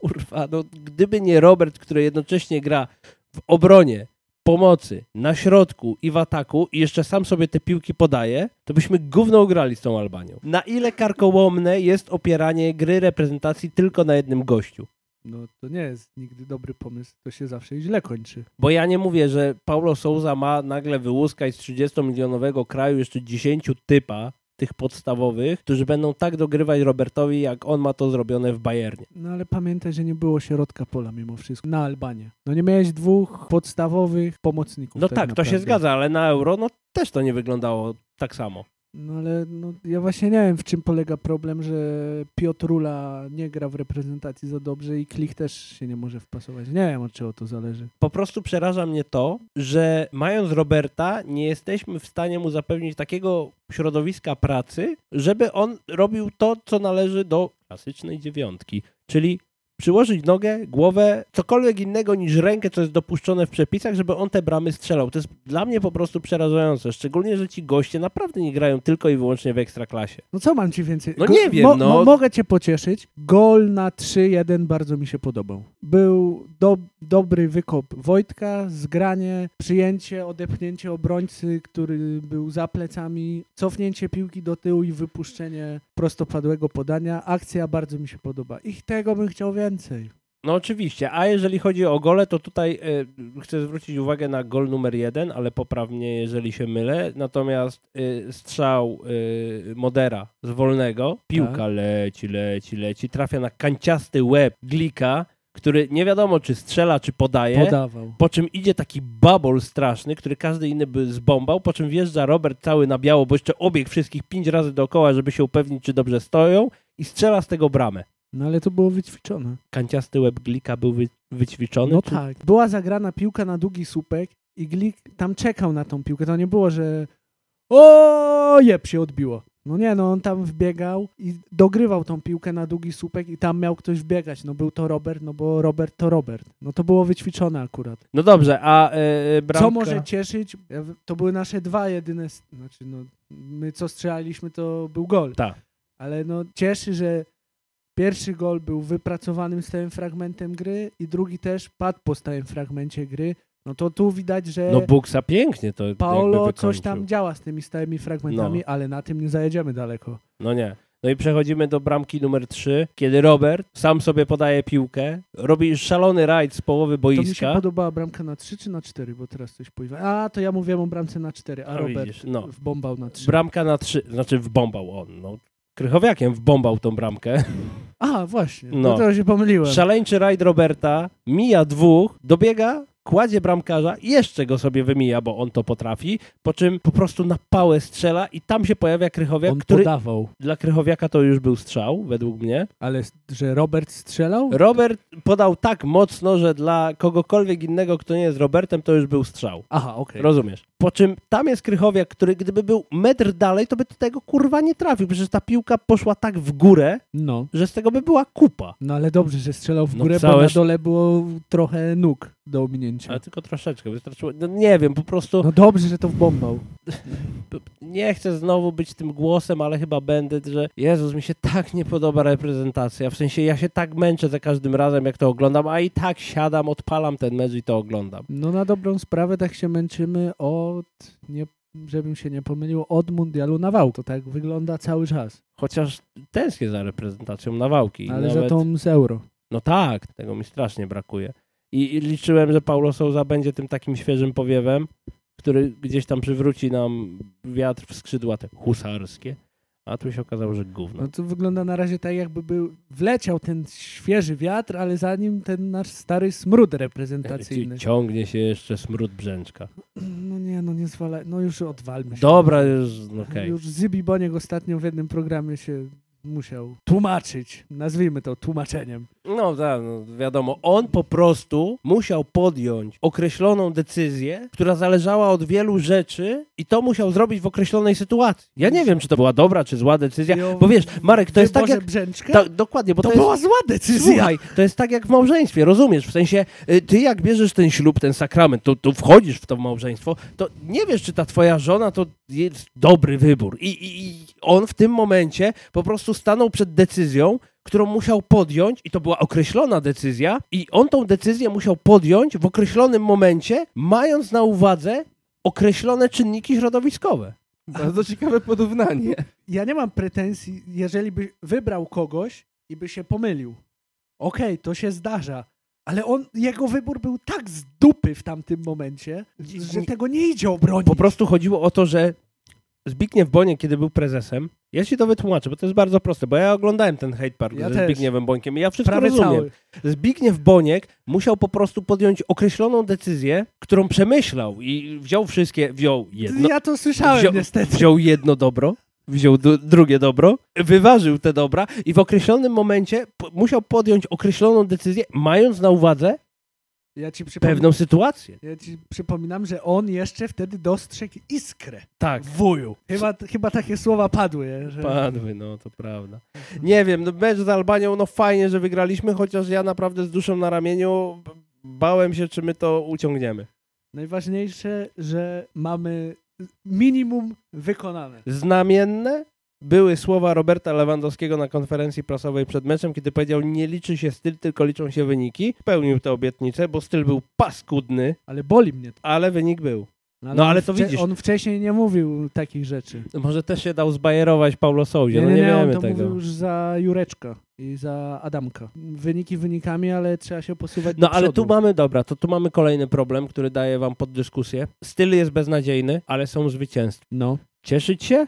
Speaker 2: Kurwa, no gdyby nie Robert, który jednocześnie gra w obronie, pomocy, na środku i w ataku i jeszcze sam sobie te piłki podaje, to byśmy gówno ugrali z tą Albanią. Na ile karkołomne jest opieranie gry reprezentacji tylko na jednym gościu?
Speaker 1: No to nie jest nigdy dobry pomysł, to się zawsze źle kończy.
Speaker 2: Bo ja nie mówię, że Paulo Souza ma nagle wyłuskać z 30-milionowego kraju jeszcze 10 typa tych podstawowych, którzy będą tak dogrywać Robertowi, jak on ma to zrobione w Bayernie.
Speaker 1: No ale pamiętaj, że nie było środka pola mimo wszystko, na Albanię. No nie miałeś dwóch podstawowych pomocników.
Speaker 2: No tak, to się
Speaker 1: naprawdę.
Speaker 2: zgadza, ale na euro no, też to nie wyglądało tak samo.
Speaker 1: No ale no, ja właśnie nie wiem, w czym polega problem, że Piotr Rula nie gra w reprezentacji za dobrze i Klich też się nie może wpasować. Nie wiem, od czego to zależy.
Speaker 2: Po prostu przeraża mnie to, że mając Roberta, nie jesteśmy w stanie mu zapewnić takiego środowiska pracy, żeby on robił to, co należy do klasycznej dziewiątki, czyli przyłożyć nogę, głowę, cokolwiek innego niż rękę, co jest dopuszczone w przepisach, żeby on te bramy strzelał. To jest dla mnie po prostu przerażające, szczególnie, że ci goście naprawdę nie grają tylko i wyłącznie w ekstraklasie.
Speaker 1: No co mam ci więcej?
Speaker 2: No nie wiem, no.
Speaker 1: mogę cię pocieszyć. Gol na 3-1 bardzo mi się podobał. Był do, dobry wykop Wojtka, zgranie, przyjęcie, odepchnięcie obrońcy, który był za plecami, cofnięcie piłki do tyłu i wypuszczenie prostopadłego podania. Akcja bardzo mi się podoba. Ich tego bym chciał więcej.
Speaker 2: No oczywiście, a jeżeli chodzi o gole, to tutaj y, chcę zwrócić uwagę na gol numer jeden, ale poprawnie, jeżeli się mylę. Natomiast y, strzał y, Modera z wolnego, piłka
Speaker 1: Tak.
Speaker 2: leci, leci, leci, trafia na kanciasty łeb Glika, który nie wiadomo czy strzela, czy podaje.
Speaker 1: Podawał.
Speaker 2: Po czym idzie taki babol straszny, który każdy inny by zbombał, po czym wjeżdża Robert cały na biało, bo jeszcze obieg wszystkich pięć razy dookoła, żeby się upewnić, czy dobrze stoją i strzela z tego bramę.
Speaker 1: No ale to było wyćwiczone.
Speaker 2: Kanciasty łeb Glika był wy, wyćwiczony?
Speaker 1: No
Speaker 2: czy-
Speaker 1: tak. Była zagrana piłka na długi słupek i Glik tam czekał na tą piłkę. To nie było, że o jeb się odbiło. No nie, no on tam wbiegał i dogrywał tą piłkę na długi słupek i tam miał ktoś wbiegać. No był to Robert, no bo Robert to Robert. No to było wyćwiczone akurat.
Speaker 2: No dobrze, a e, bramka...
Speaker 1: Co może cieszyć? Ja w- To były nasze dwa jedyne, s- znaczy no my co strzelaliśmy to był gol.
Speaker 2: Tak.
Speaker 1: Ale no cieszy, że pierwszy gol był wypracowanym stałym fragmentem gry i drugi też padł po stałym fragmencie gry. No to tu widać, że
Speaker 2: No Buksa pięknie to
Speaker 1: Paolo
Speaker 2: jakby
Speaker 1: coś
Speaker 2: wykończył.
Speaker 1: tam działa z tymi stałymi fragmentami, ale na tym nie zajedziemy daleko.
Speaker 2: No nie. No i przechodzimy do bramki numer 3, kiedy Robert sam sobie podaje piłkę, robi szalony rajd z połowy
Speaker 1: To mi się
Speaker 2: boiska.
Speaker 1: podobała bramka na 3 czy na 4, bo teraz coś pływa. A, to ja mówiłem o bramce na 4, a
Speaker 2: A,
Speaker 1: Robert
Speaker 2: widzisz, no.
Speaker 1: wbombał na 3.
Speaker 2: Bramka na 3, znaczy wbombał on, no. Krychowiakiem wbombał tą bramkę.
Speaker 1: a, właśnie,
Speaker 2: No.
Speaker 1: no to się pomyliłem.
Speaker 2: Szaleńczy rajd Roberta, mija dwóch, dobiega, kładzie bramkarza, jeszcze go sobie wymija, bo on to potrafi, po czym po prostu na pałę strzela i tam się pojawia Krychowiak,
Speaker 1: On
Speaker 2: który
Speaker 1: podawał,
Speaker 2: dla Krychowiaka to już był strzał, według mnie.
Speaker 1: ale s- że Robert strzelał?
Speaker 2: Robert podał tak mocno, że dla kogokolwiek innego, kto nie jest Robertem, to już był strzał.
Speaker 1: Aha, okej.
Speaker 2: Rozumiesz. Po czym tam jest Krychowiak, który gdyby był metr dalej, to by do tego kurwa nie trafił, przecież ta piłka poszła tak w górę,
Speaker 1: No.
Speaker 2: że z tego by była kupa.
Speaker 1: No ale dobrze, że strzelał w
Speaker 2: No
Speaker 1: górę, bo
Speaker 2: całe
Speaker 1: na
Speaker 2: sz-
Speaker 1: dole było trochę nóg do
Speaker 2: Ale
Speaker 1: ominięcia.
Speaker 2: tylko troszeczkę wystarczyło. No nie wiem, po prostu
Speaker 1: No dobrze, że to wbombał.
Speaker 2: nie chcę znowu być tym głosem, ale chyba będę, że Jezus, mi się tak nie podoba reprezentacja. W sensie ja się tak męczę za każdym razem, jak to oglądam, a i tak siadam, odpalam ten mecz i to oglądam.
Speaker 1: No na dobrą sprawę tak się męczymy od, nie, żebym się nie pomylił, od mundialu na wał. To tak wygląda cały czas.
Speaker 2: Chociaż tęsknię za reprezentacją nawałki.
Speaker 1: Ale
Speaker 2: Nawet...
Speaker 1: za tą z euro.
Speaker 2: No tak, tego mi strasznie brakuje. I, I liczyłem, że Paulo Souza będzie tym takim świeżym powiewem, który gdzieś tam przywróci nam wiatr w skrzydła te husarskie, a tu się okazało, że gówno.
Speaker 1: No to wygląda na razie tak, jakby był, wleciał ten świeży wiatr, ale za nim ten nasz stary smród reprezentacyjny.
Speaker 2: [LAUGHS] Ci- Ciągnie się jeszcze smród brzęczka.
Speaker 1: No nie, no nie zwalaj, no już odwalmy się.
Speaker 2: Dobra, już, no okej.
Speaker 1: Już Zybi Boniek ostatnio w jednym programie się musiał tłumaczyć. Nazwijmy to tłumaczeniem.
Speaker 2: No tak, no, wiadomo. On po prostu musiał podjąć określoną decyzję, która zależała od wielu rzeczy i to musiał zrobić w określonej sytuacji. Ja nie wiem, czy to była dobra, czy zła decyzja,
Speaker 1: I o
Speaker 2: bo wiesz, Marek, to jest tak
Speaker 1: wyborze
Speaker 2: jak...
Speaker 1: Brzęczka?
Speaker 2: Tak, dokładnie, bo to,
Speaker 1: to
Speaker 2: jest...
Speaker 1: była zła decyzja.
Speaker 2: Słuchaj, to jest tak jak w małżeństwie, rozumiesz? W sensie, y, ty jak bierzesz ten ślub, ten sakrament, to, to wchodzisz w to małżeństwo, to nie wiesz, czy ta twoja żona to jest dobry wybór. I, i, I on w tym momencie po prostu stanął przed decyzją, którą musiał podjąć, i to była określona decyzja, i on tą decyzję musiał podjąć w określonym momencie, mając na uwadze określone czynniki środowiskowe.
Speaker 3: Bardzo ciekawe porównanie.
Speaker 1: Ja nie mam pretensji, jeżeli by wybrał kogoś i by się pomylił. Okej, to się zdarza. Ale on, jego wybór był tak z dupy w tamtym momencie, że tego nie idzie obronić.
Speaker 2: Po prostu chodziło o to, że Zbigniew Boniek, kiedy był prezesem, ja ci to wytłumaczę, bo to jest bardzo proste, bo ja oglądałem ten hate park
Speaker 1: Ja
Speaker 2: ze
Speaker 1: też.
Speaker 2: Zbigniewem Bońkiem i ja wszystko
Speaker 1: Prawie
Speaker 2: rozumiem.
Speaker 1: cały.
Speaker 2: Zbigniew Boniek musiał po prostu podjąć określoną decyzję, którą przemyślał i wziął wszystkie, wziął jedno,
Speaker 1: ja to słyszałem
Speaker 2: wziął-
Speaker 1: niestety.
Speaker 2: wziął jedno dobro, wziął du- drugie dobro, wyważył te dobra i w określonym momencie po- musiał podjąć określoną decyzję, mając na uwadze
Speaker 1: Ja ci, przypom...
Speaker 2: pewną sytuację.
Speaker 1: ja ci przypominam, że on jeszcze wtedy dostrzegł iskrę.
Speaker 2: Tak.
Speaker 1: Wuju. Chyba, chyba takie słowa padły. Że...
Speaker 2: Padły, no to prawda. Nie wiem, no mecz z Albanią, no fajnie, że wygraliśmy, chociaż ja naprawdę z duszą na ramieniu b- bałem się, czy my to uciągniemy.
Speaker 1: Najważniejsze, że mamy minimum wykonane.
Speaker 2: Znamienne były słowa Roberta Lewandowskiego na konferencji prasowej przed meczem, kiedy powiedział, nie liczy się styl, tylko liczą się wyniki. Pełnił tę obietnicę, bo styl był paskudny,
Speaker 1: Ale boli mnie to.
Speaker 2: ale wynik był. No,
Speaker 1: on
Speaker 2: ale to
Speaker 1: wcze-
Speaker 2: widzisz.
Speaker 1: On wcześniej nie mówił takich rzeczy.
Speaker 2: No, Może też się dał zbajerować Paulo Souzie,
Speaker 1: Nie,
Speaker 2: no
Speaker 1: nie,
Speaker 2: nie,
Speaker 1: nie, on
Speaker 2: wiemy
Speaker 1: to
Speaker 2: tego.
Speaker 1: mówił już za Jureczka i za Adamka. Wyniki wynikami, ale trzeba się posuwać
Speaker 2: No
Speaker 1: do
Speaker 2: ale tu
Speaker 1: przodu.
Speaker 2: mamy, dobra, to tu mamy kolejny problem, który daję wam pod dyskusję. Styl jest beznadziejny, ale są zwycięstwa.
Speaker 1: No.
Speaker 2: cieszyć się,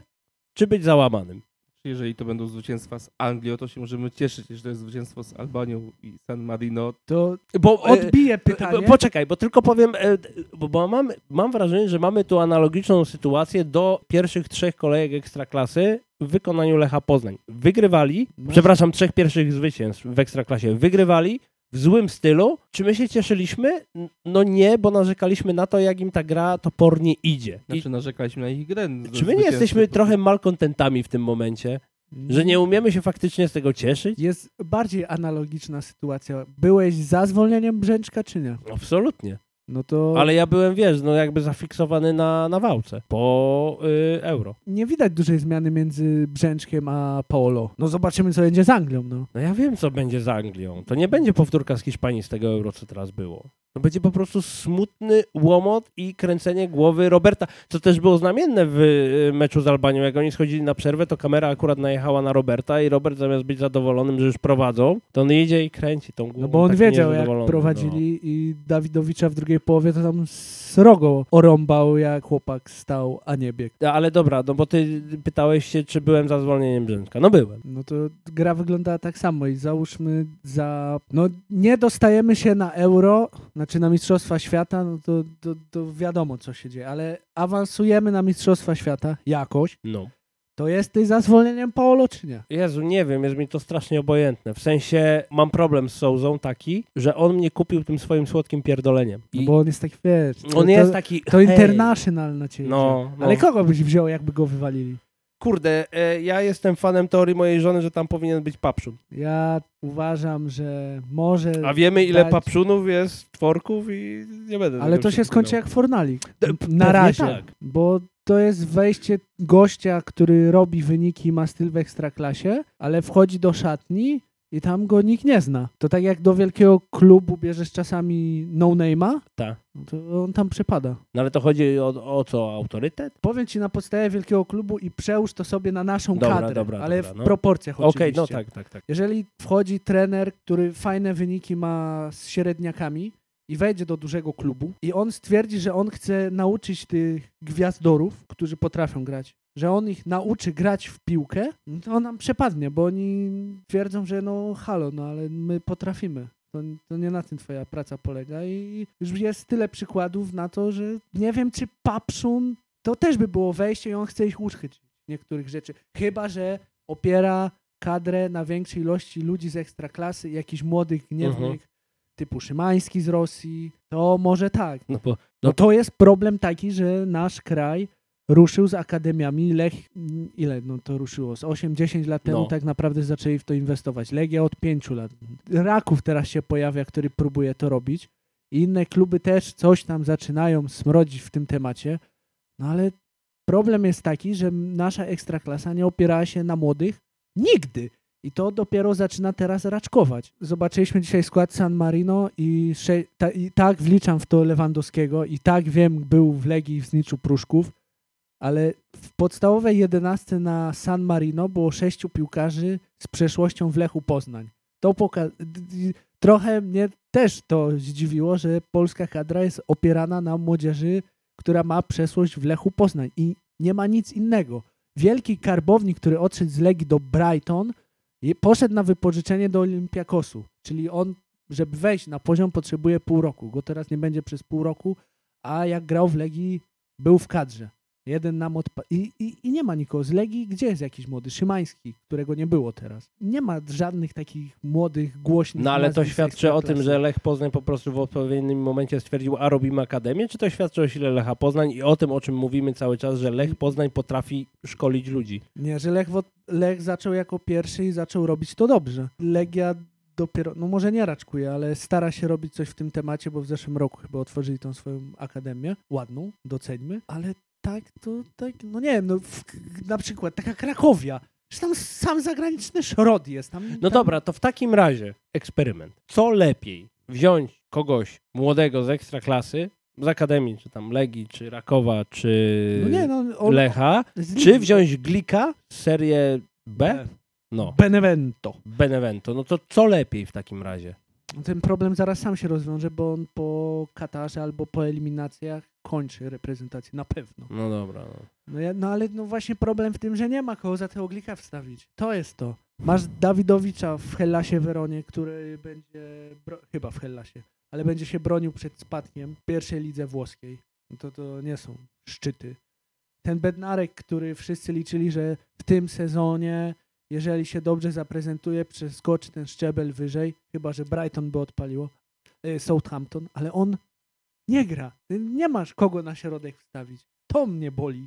Speaker 2: czy być załamanym?
Speaker 3: Jeżeli to będą zwycięstwa z Anglią, to się możemy cieszyć. Jeżeli to jest zwycięstwo z Albanią i San Marino,
Speaker 2: E,
Speaker 1: To
Speaker 2: Bo
Speaker 1: odbije
Speaker 2: p-
Speaker 1: e, pytanie.
Speaker 2: e, Poczekaj, bo tylko powiem, e, d- bo, bo mam, mam wrażenie, że mamy tu analogiczną sytuację do pierwszych trzech kolejek Ekstraklasy w wykonaniu Lecha Poznań. Wygrywali,
Speaker 1: Może-
Speaker 2: przepraszam, trzech pierwszych zwycięstw w Ekstraklasie. Wygrywali w złym stylu. Czy my się cieszyliśmy? N- No nie, bo narzekaliśmy na to, jak im ta gra topornie idzie. I
Speaker 3: znaczy no, narzekaliśmy na ich grę.
Speaker 2: czy my nie jesteśmy trochę malkontentami w tym momencie? Że nie umiemy się faktycznie z tego cieszyć?
Speaker 1: Jest bardziej analogiczna sytuacja. Byłeś za zwolnieniem Brzęczka, czy nie?
Speaker 2: Absolutnie.
Speaker 1: No to
Speaker 2: Ale ja byłem, wiesz, no jakby zafiksowany na, na wałce po y, euro.
Speaker 1: nie widać dużej zmiany między Brzęczkiem a Paolo. No zobaczymy, co będzie z Anglią, no.
Speaker 2: No ja wiem, co będzie z Anglią. To nie będzie powtórka z Hiszpanii z tego euro, co teraz było. To będzie po prostu smutny łomot i kręcenie głowy Roberta, co też było znamienne w y, meczu z Albanią. Jak oni schodzili na przerwę, to kamera akurat najechała na Roberta i Robert zamiast być zadowolonym, że już prowadzą, to on idzie i kręci tą głową.
Speaker 1: No bo on
Speaker 2: taki
Speaker 1: wiedział, jak
Speaker 2: Tak niezadowolony, no.
Speaker 1: prowadzili i Dawidowicza w drugiej połowie to tam srogo orąbał, jak chłopak stał, a nie biegł.
Speaker 2: No. Ale dobra, no bo ty pytałeś się, czy byłem za zwolnieniem Brzęczka. No byłem.
Speaker 1: No to gra wyglądała tak samo i załóżmy za... No nie dostajemy się na euro, Znaczy na Mistrzostwa Świata no to, to, to wiadomo, co się dzieje, ale awansujemy na Mistrzostwa Świata jakoś.
Speaker 2: No.
Speaker 1: To jesteś za zwolnieniem Paolo, czy nie?
Speaker 2: Jezu, nie wiem, jest mi to strasznie obojętne. W sensie mam problem z Souzą taki, że on mnie kupił tym swoim słodkim pierdoleniem.
Speaker 1: No
Speaker 2: I
Speaker 1: bo on jest taki, wiesz... to-
Speaker 2: on
Speaker 1: to,
Speaker 2: jest taki.
Speaker 1: To
Speaker 2: hej.
Speaker 1: international na ciebie. wziął.
Speaker 2: No, no.
Speaker 1: Ale kogo byś wziął, jakby go wywalili?
Speaker 2: kurde, e, ja jestem fanem teorii mojej żony, że tam powinien być papszun.
Speaker 1: Ja uważam, że może...
Speaker 2: A wiemy, ile
Speaker 1: dać-
Speaker 2: papszunów jest, tworków i nie będę.
Speaker 1: Ale
Speaker 2: tego
Speaker 1: to się
Speaker 2: przeklinał.
Speaker 1: skończy jak fornalik.
Speaker 2: D- p-
Speaker 1: Na
Speaker 2: pewnie
Speaker 1: razie.
Speaker 2: tak.
Speaker 1: Bo to jest wejście gościa, który robi wyniki i ma styl w ekstraklasie, ale wchodzi do szatni i tam go nikt nie zna. To tak jak do wielkiego klubu bierzesz czasami no-name'a,
Speaker 2: Tak.
Speaker 1: no to on tam przepada.
Speaker 2: No ale to chodzi o, o co? Autorytet?
Speaker 1: Powiem ci na podstawie wielkiego klubu i przełóż to sobie na naszą
Speaker 2: Dobra,
Speaker 1: kadrę,
Speaker 2: dobra,
Speaker 1: ale
Speaker 2: dobra,
Speaker 1: w
Speaker 2: no.
Speaker 1: proporcjach
Speaker 2: Okej,
Speaker 1: oczywiście.
Speaker 2: no tak, tak, tak.
Speaker 1: Jeżeli wchodzi trener, który fajne wyniki ma z średniakami i wejdzie do dużego klubu i on stwierdzi, że on chce nauczyć tych gwiazdorów, którzy potrafią grać, że on ich nauczy grać w piłkę, no to on nam przepadnie, bo oni twierdzą, że no halo, no ale my potrafimy. To, to nie na tym twoja praca polega i już jest tyle przykładów na to, że nie wiem, czy Papszun to też by było wejście i on chce ich uszchyć niektórych rzeczy. Chyba, że opiera kadrę na większej ilości ludzi z ekstraklasy, jakichś młodych gniewnych,
Speaker 2: Mhm.
Speaker 1: typu Szymański z Rosji, to może tak.
Speaker 2: No bo
Speaker 1: No to jest problem taki, że nasz kraj ruszył z akademiami Lech, m, ile no to ruszyło? Z 8-10 lat temu
Speaker 2: No.
Speaker 1: tak naprawdę zaczęli w to inwestować. Legia od 5 lat. Raków teraz się pojawia, który próbuje to robić. I Inne kluby też coś tam zaczynają smrodzić w tym temacie. No ale problem jest taki, że nasza ekstraklasa nie opierała się na młodych nigdy. I to dopiero zaczyna teraz raczkować. Zobaczyliśmy dzisiaj skład San Marino i, sze- ta, i tak wliczam w to Lewandowskiego i tak wiem, był w Legii w zniczu Pruszków, ale w podstawowej jedenastce na San Marino było sześciu piłkarzy z przeszłością w Lechu Poznań. To poka- d- d- trochę mnie też to zdziwiło, że polska kadra jest opierana na młodzieży, która ma przeszłość w Lechu Poznań i nie ma nic innego. Wielki karbownik, który odszedł z Legii do Brighton, i poszedł na wypożyczenie do Olimpiakosu, czyli on, żeby wejść na poziom, potrzebuje pół roku. Go teraz nie będzie przez pół roku, a jak grał w Legii, był w kadrze. Jeden nam odpa- I, i, I nie ma nikogo z Legii. Gdzie jest jakiś młody? Szymański, którego nie było teraz. Nie ma żadnych takich młodych, głośnych
Speaker 2: No ale to
Speaker 1: nazwisk
Speaker 2: świadczy o tym,
Speaker 1: ekstraklasy.
Speaker 2: że Lech Poznań po prostu w odpowiednim momencie stwierdził, a robimy akademię, czy to świadczy o sile Lecha Poznań i o tym, o czym mówimy cały czas, że Lech Poznań potrafi szkolić ludzi.
Speaker 1: Nie, że Lech, wo- Lech zaczął jako pierwszy i zaczął robić to dobrze. Legia dopiero, no może nie raczkuje, ale stara się robić coś w tym temacie, bo w zeszłym roku chyba otworzyli tą swoją akademię, ładną, doceńmy, ale tak to, tak, no nie wiem, no w, na przykład taka Krakowia, że tam sam zagraniczny szrod jest. Tam,
Speaker 2: No
Speaker 1: tam,
Speaker 2: dobra, to w takim razie eksperyment. Co lepiej wziąć kogoś młodego z ekstraklasy, z akademii, czy tam Legii, czy Rakowa, czy
Speaker 1: No nie, no on, Tak.
Speaker 2: Lecha,
Speaker 1: z
Speaker 2: czy
Speaker 1: Ligi-
Speaker 2: wziąć Glika z serię B?
Speaker 3: E,
Speaker 1: B.
Speaker 2: No,
Speaker 1: Benevento.
Speaker 2: Benevento. No to co lepiej w takim razie?
Speaker 1: Ten problem zaraz sam się rozwiąże, bo on po Katarze albo po eliminacjach kończy reprezentację, na pewno.
Speaker 2: No dobra. No.
Speaker 1: No, ja, no ale no właśnie problem w tym, że nie ma kogo za tego glika wstawić. To jest to. Masz Dawidowicza w Hellasie Weronie, który będzie, bro, chyba w Hellasie, ale będzie się bronił przed spadkiem w pierwszej lidze włoskiej. No To, to nie są szczyty. Ten Bednarek, który wszyscy liczyli, że w tym sezonie, jeżeli się dobrze zaprezentuje, przeskoczy ten szczebel wyżej, chyba że Brighton by odpaliło, e, Southampton, ale on nie gra. Nie masz kogo na środek wstawić. To mnie boli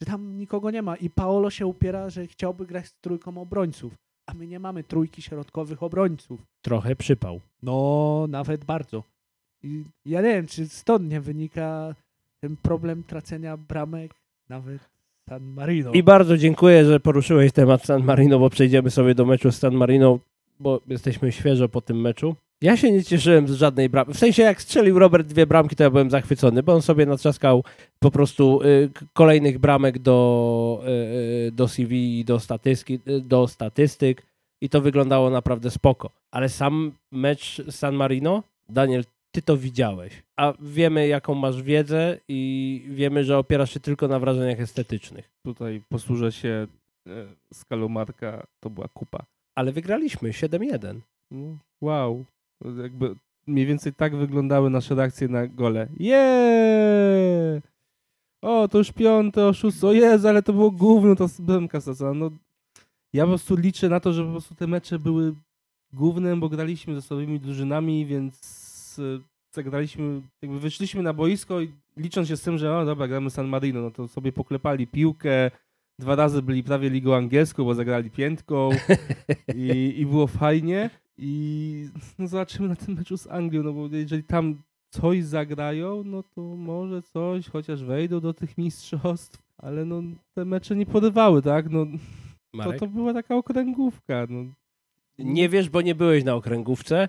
Speaker 1: że tam nikogo nie ma. I Paolo się upiera, że chciałby grać z trójką obrońców, a my nie mamy trójki środkowych obrońców.
Speaker 2: Trochę przypał.
Speaker 1: No, nawet bardzo. I ja nie wiem, czy stąd nie wynika ten problem tracenia bramek nawet San Marino.
Speaker 2: I bardzo dziękuję, że poruszyłeś temat San Marino, bo przejdziemy sobie do meczu z San Marino, bo jesteśmy świeżo po tym meczu. Ja się nie cieszyłem z żadnej bramki. W sensie, jak strzelił Robert dwie bramki, to ja byłem zachwycony, bo on sobie natrzaskał po prostu y, k- kolejnych bramek do, y, y, do CV i do, statystyki, y, do statystyk i to wyglądało naprawdę spoko. Ale sam mecz z San Marino, Daniel, ty to widziałeś, a wiemy, jaką masz wiedzę i wiemy, że opierasz się tylko na wrażeniach estetycznych.
Speaker 3: Tutaj posłużę się e, skalą Marka, to była kupa.
Speaker 2: Ale wygraliśmy 7-1.
Speaker 3: No, wow. Jakby Mniej więcej tak wyglądały nasze reakcje na gole. Jeee! O, to już piąte, o szóste, o Jezu, ale to było gówno, ta bramka stracona. No, ja po prostu liczę na to, że po prostu te mecze były gównem, bo graliśmy ze sobą drużynami, więc y, zagraliśmy, jakby wyszliśmy na boisko i licząc się z tym, że o dobra, gramy San Marino, no to sobie poklepali piłkę, dwa razy byli prawie ligą angielską, bo zagrali piętką i, i było fajnie i [LAUGHS] no, zobaczymy na tym meczu z Anglią, no bo jeżeli tam coś zagrają, no to może coś, chociaż wejdą do tych mistrzostw, ale no te mecze nie porywały, tak, no to,
Speaker 2: Marek?
Speaker 3: to była taka okręgówka, no
Speaker 2: Nie wiesz, bo nie byłeś na okręgówce,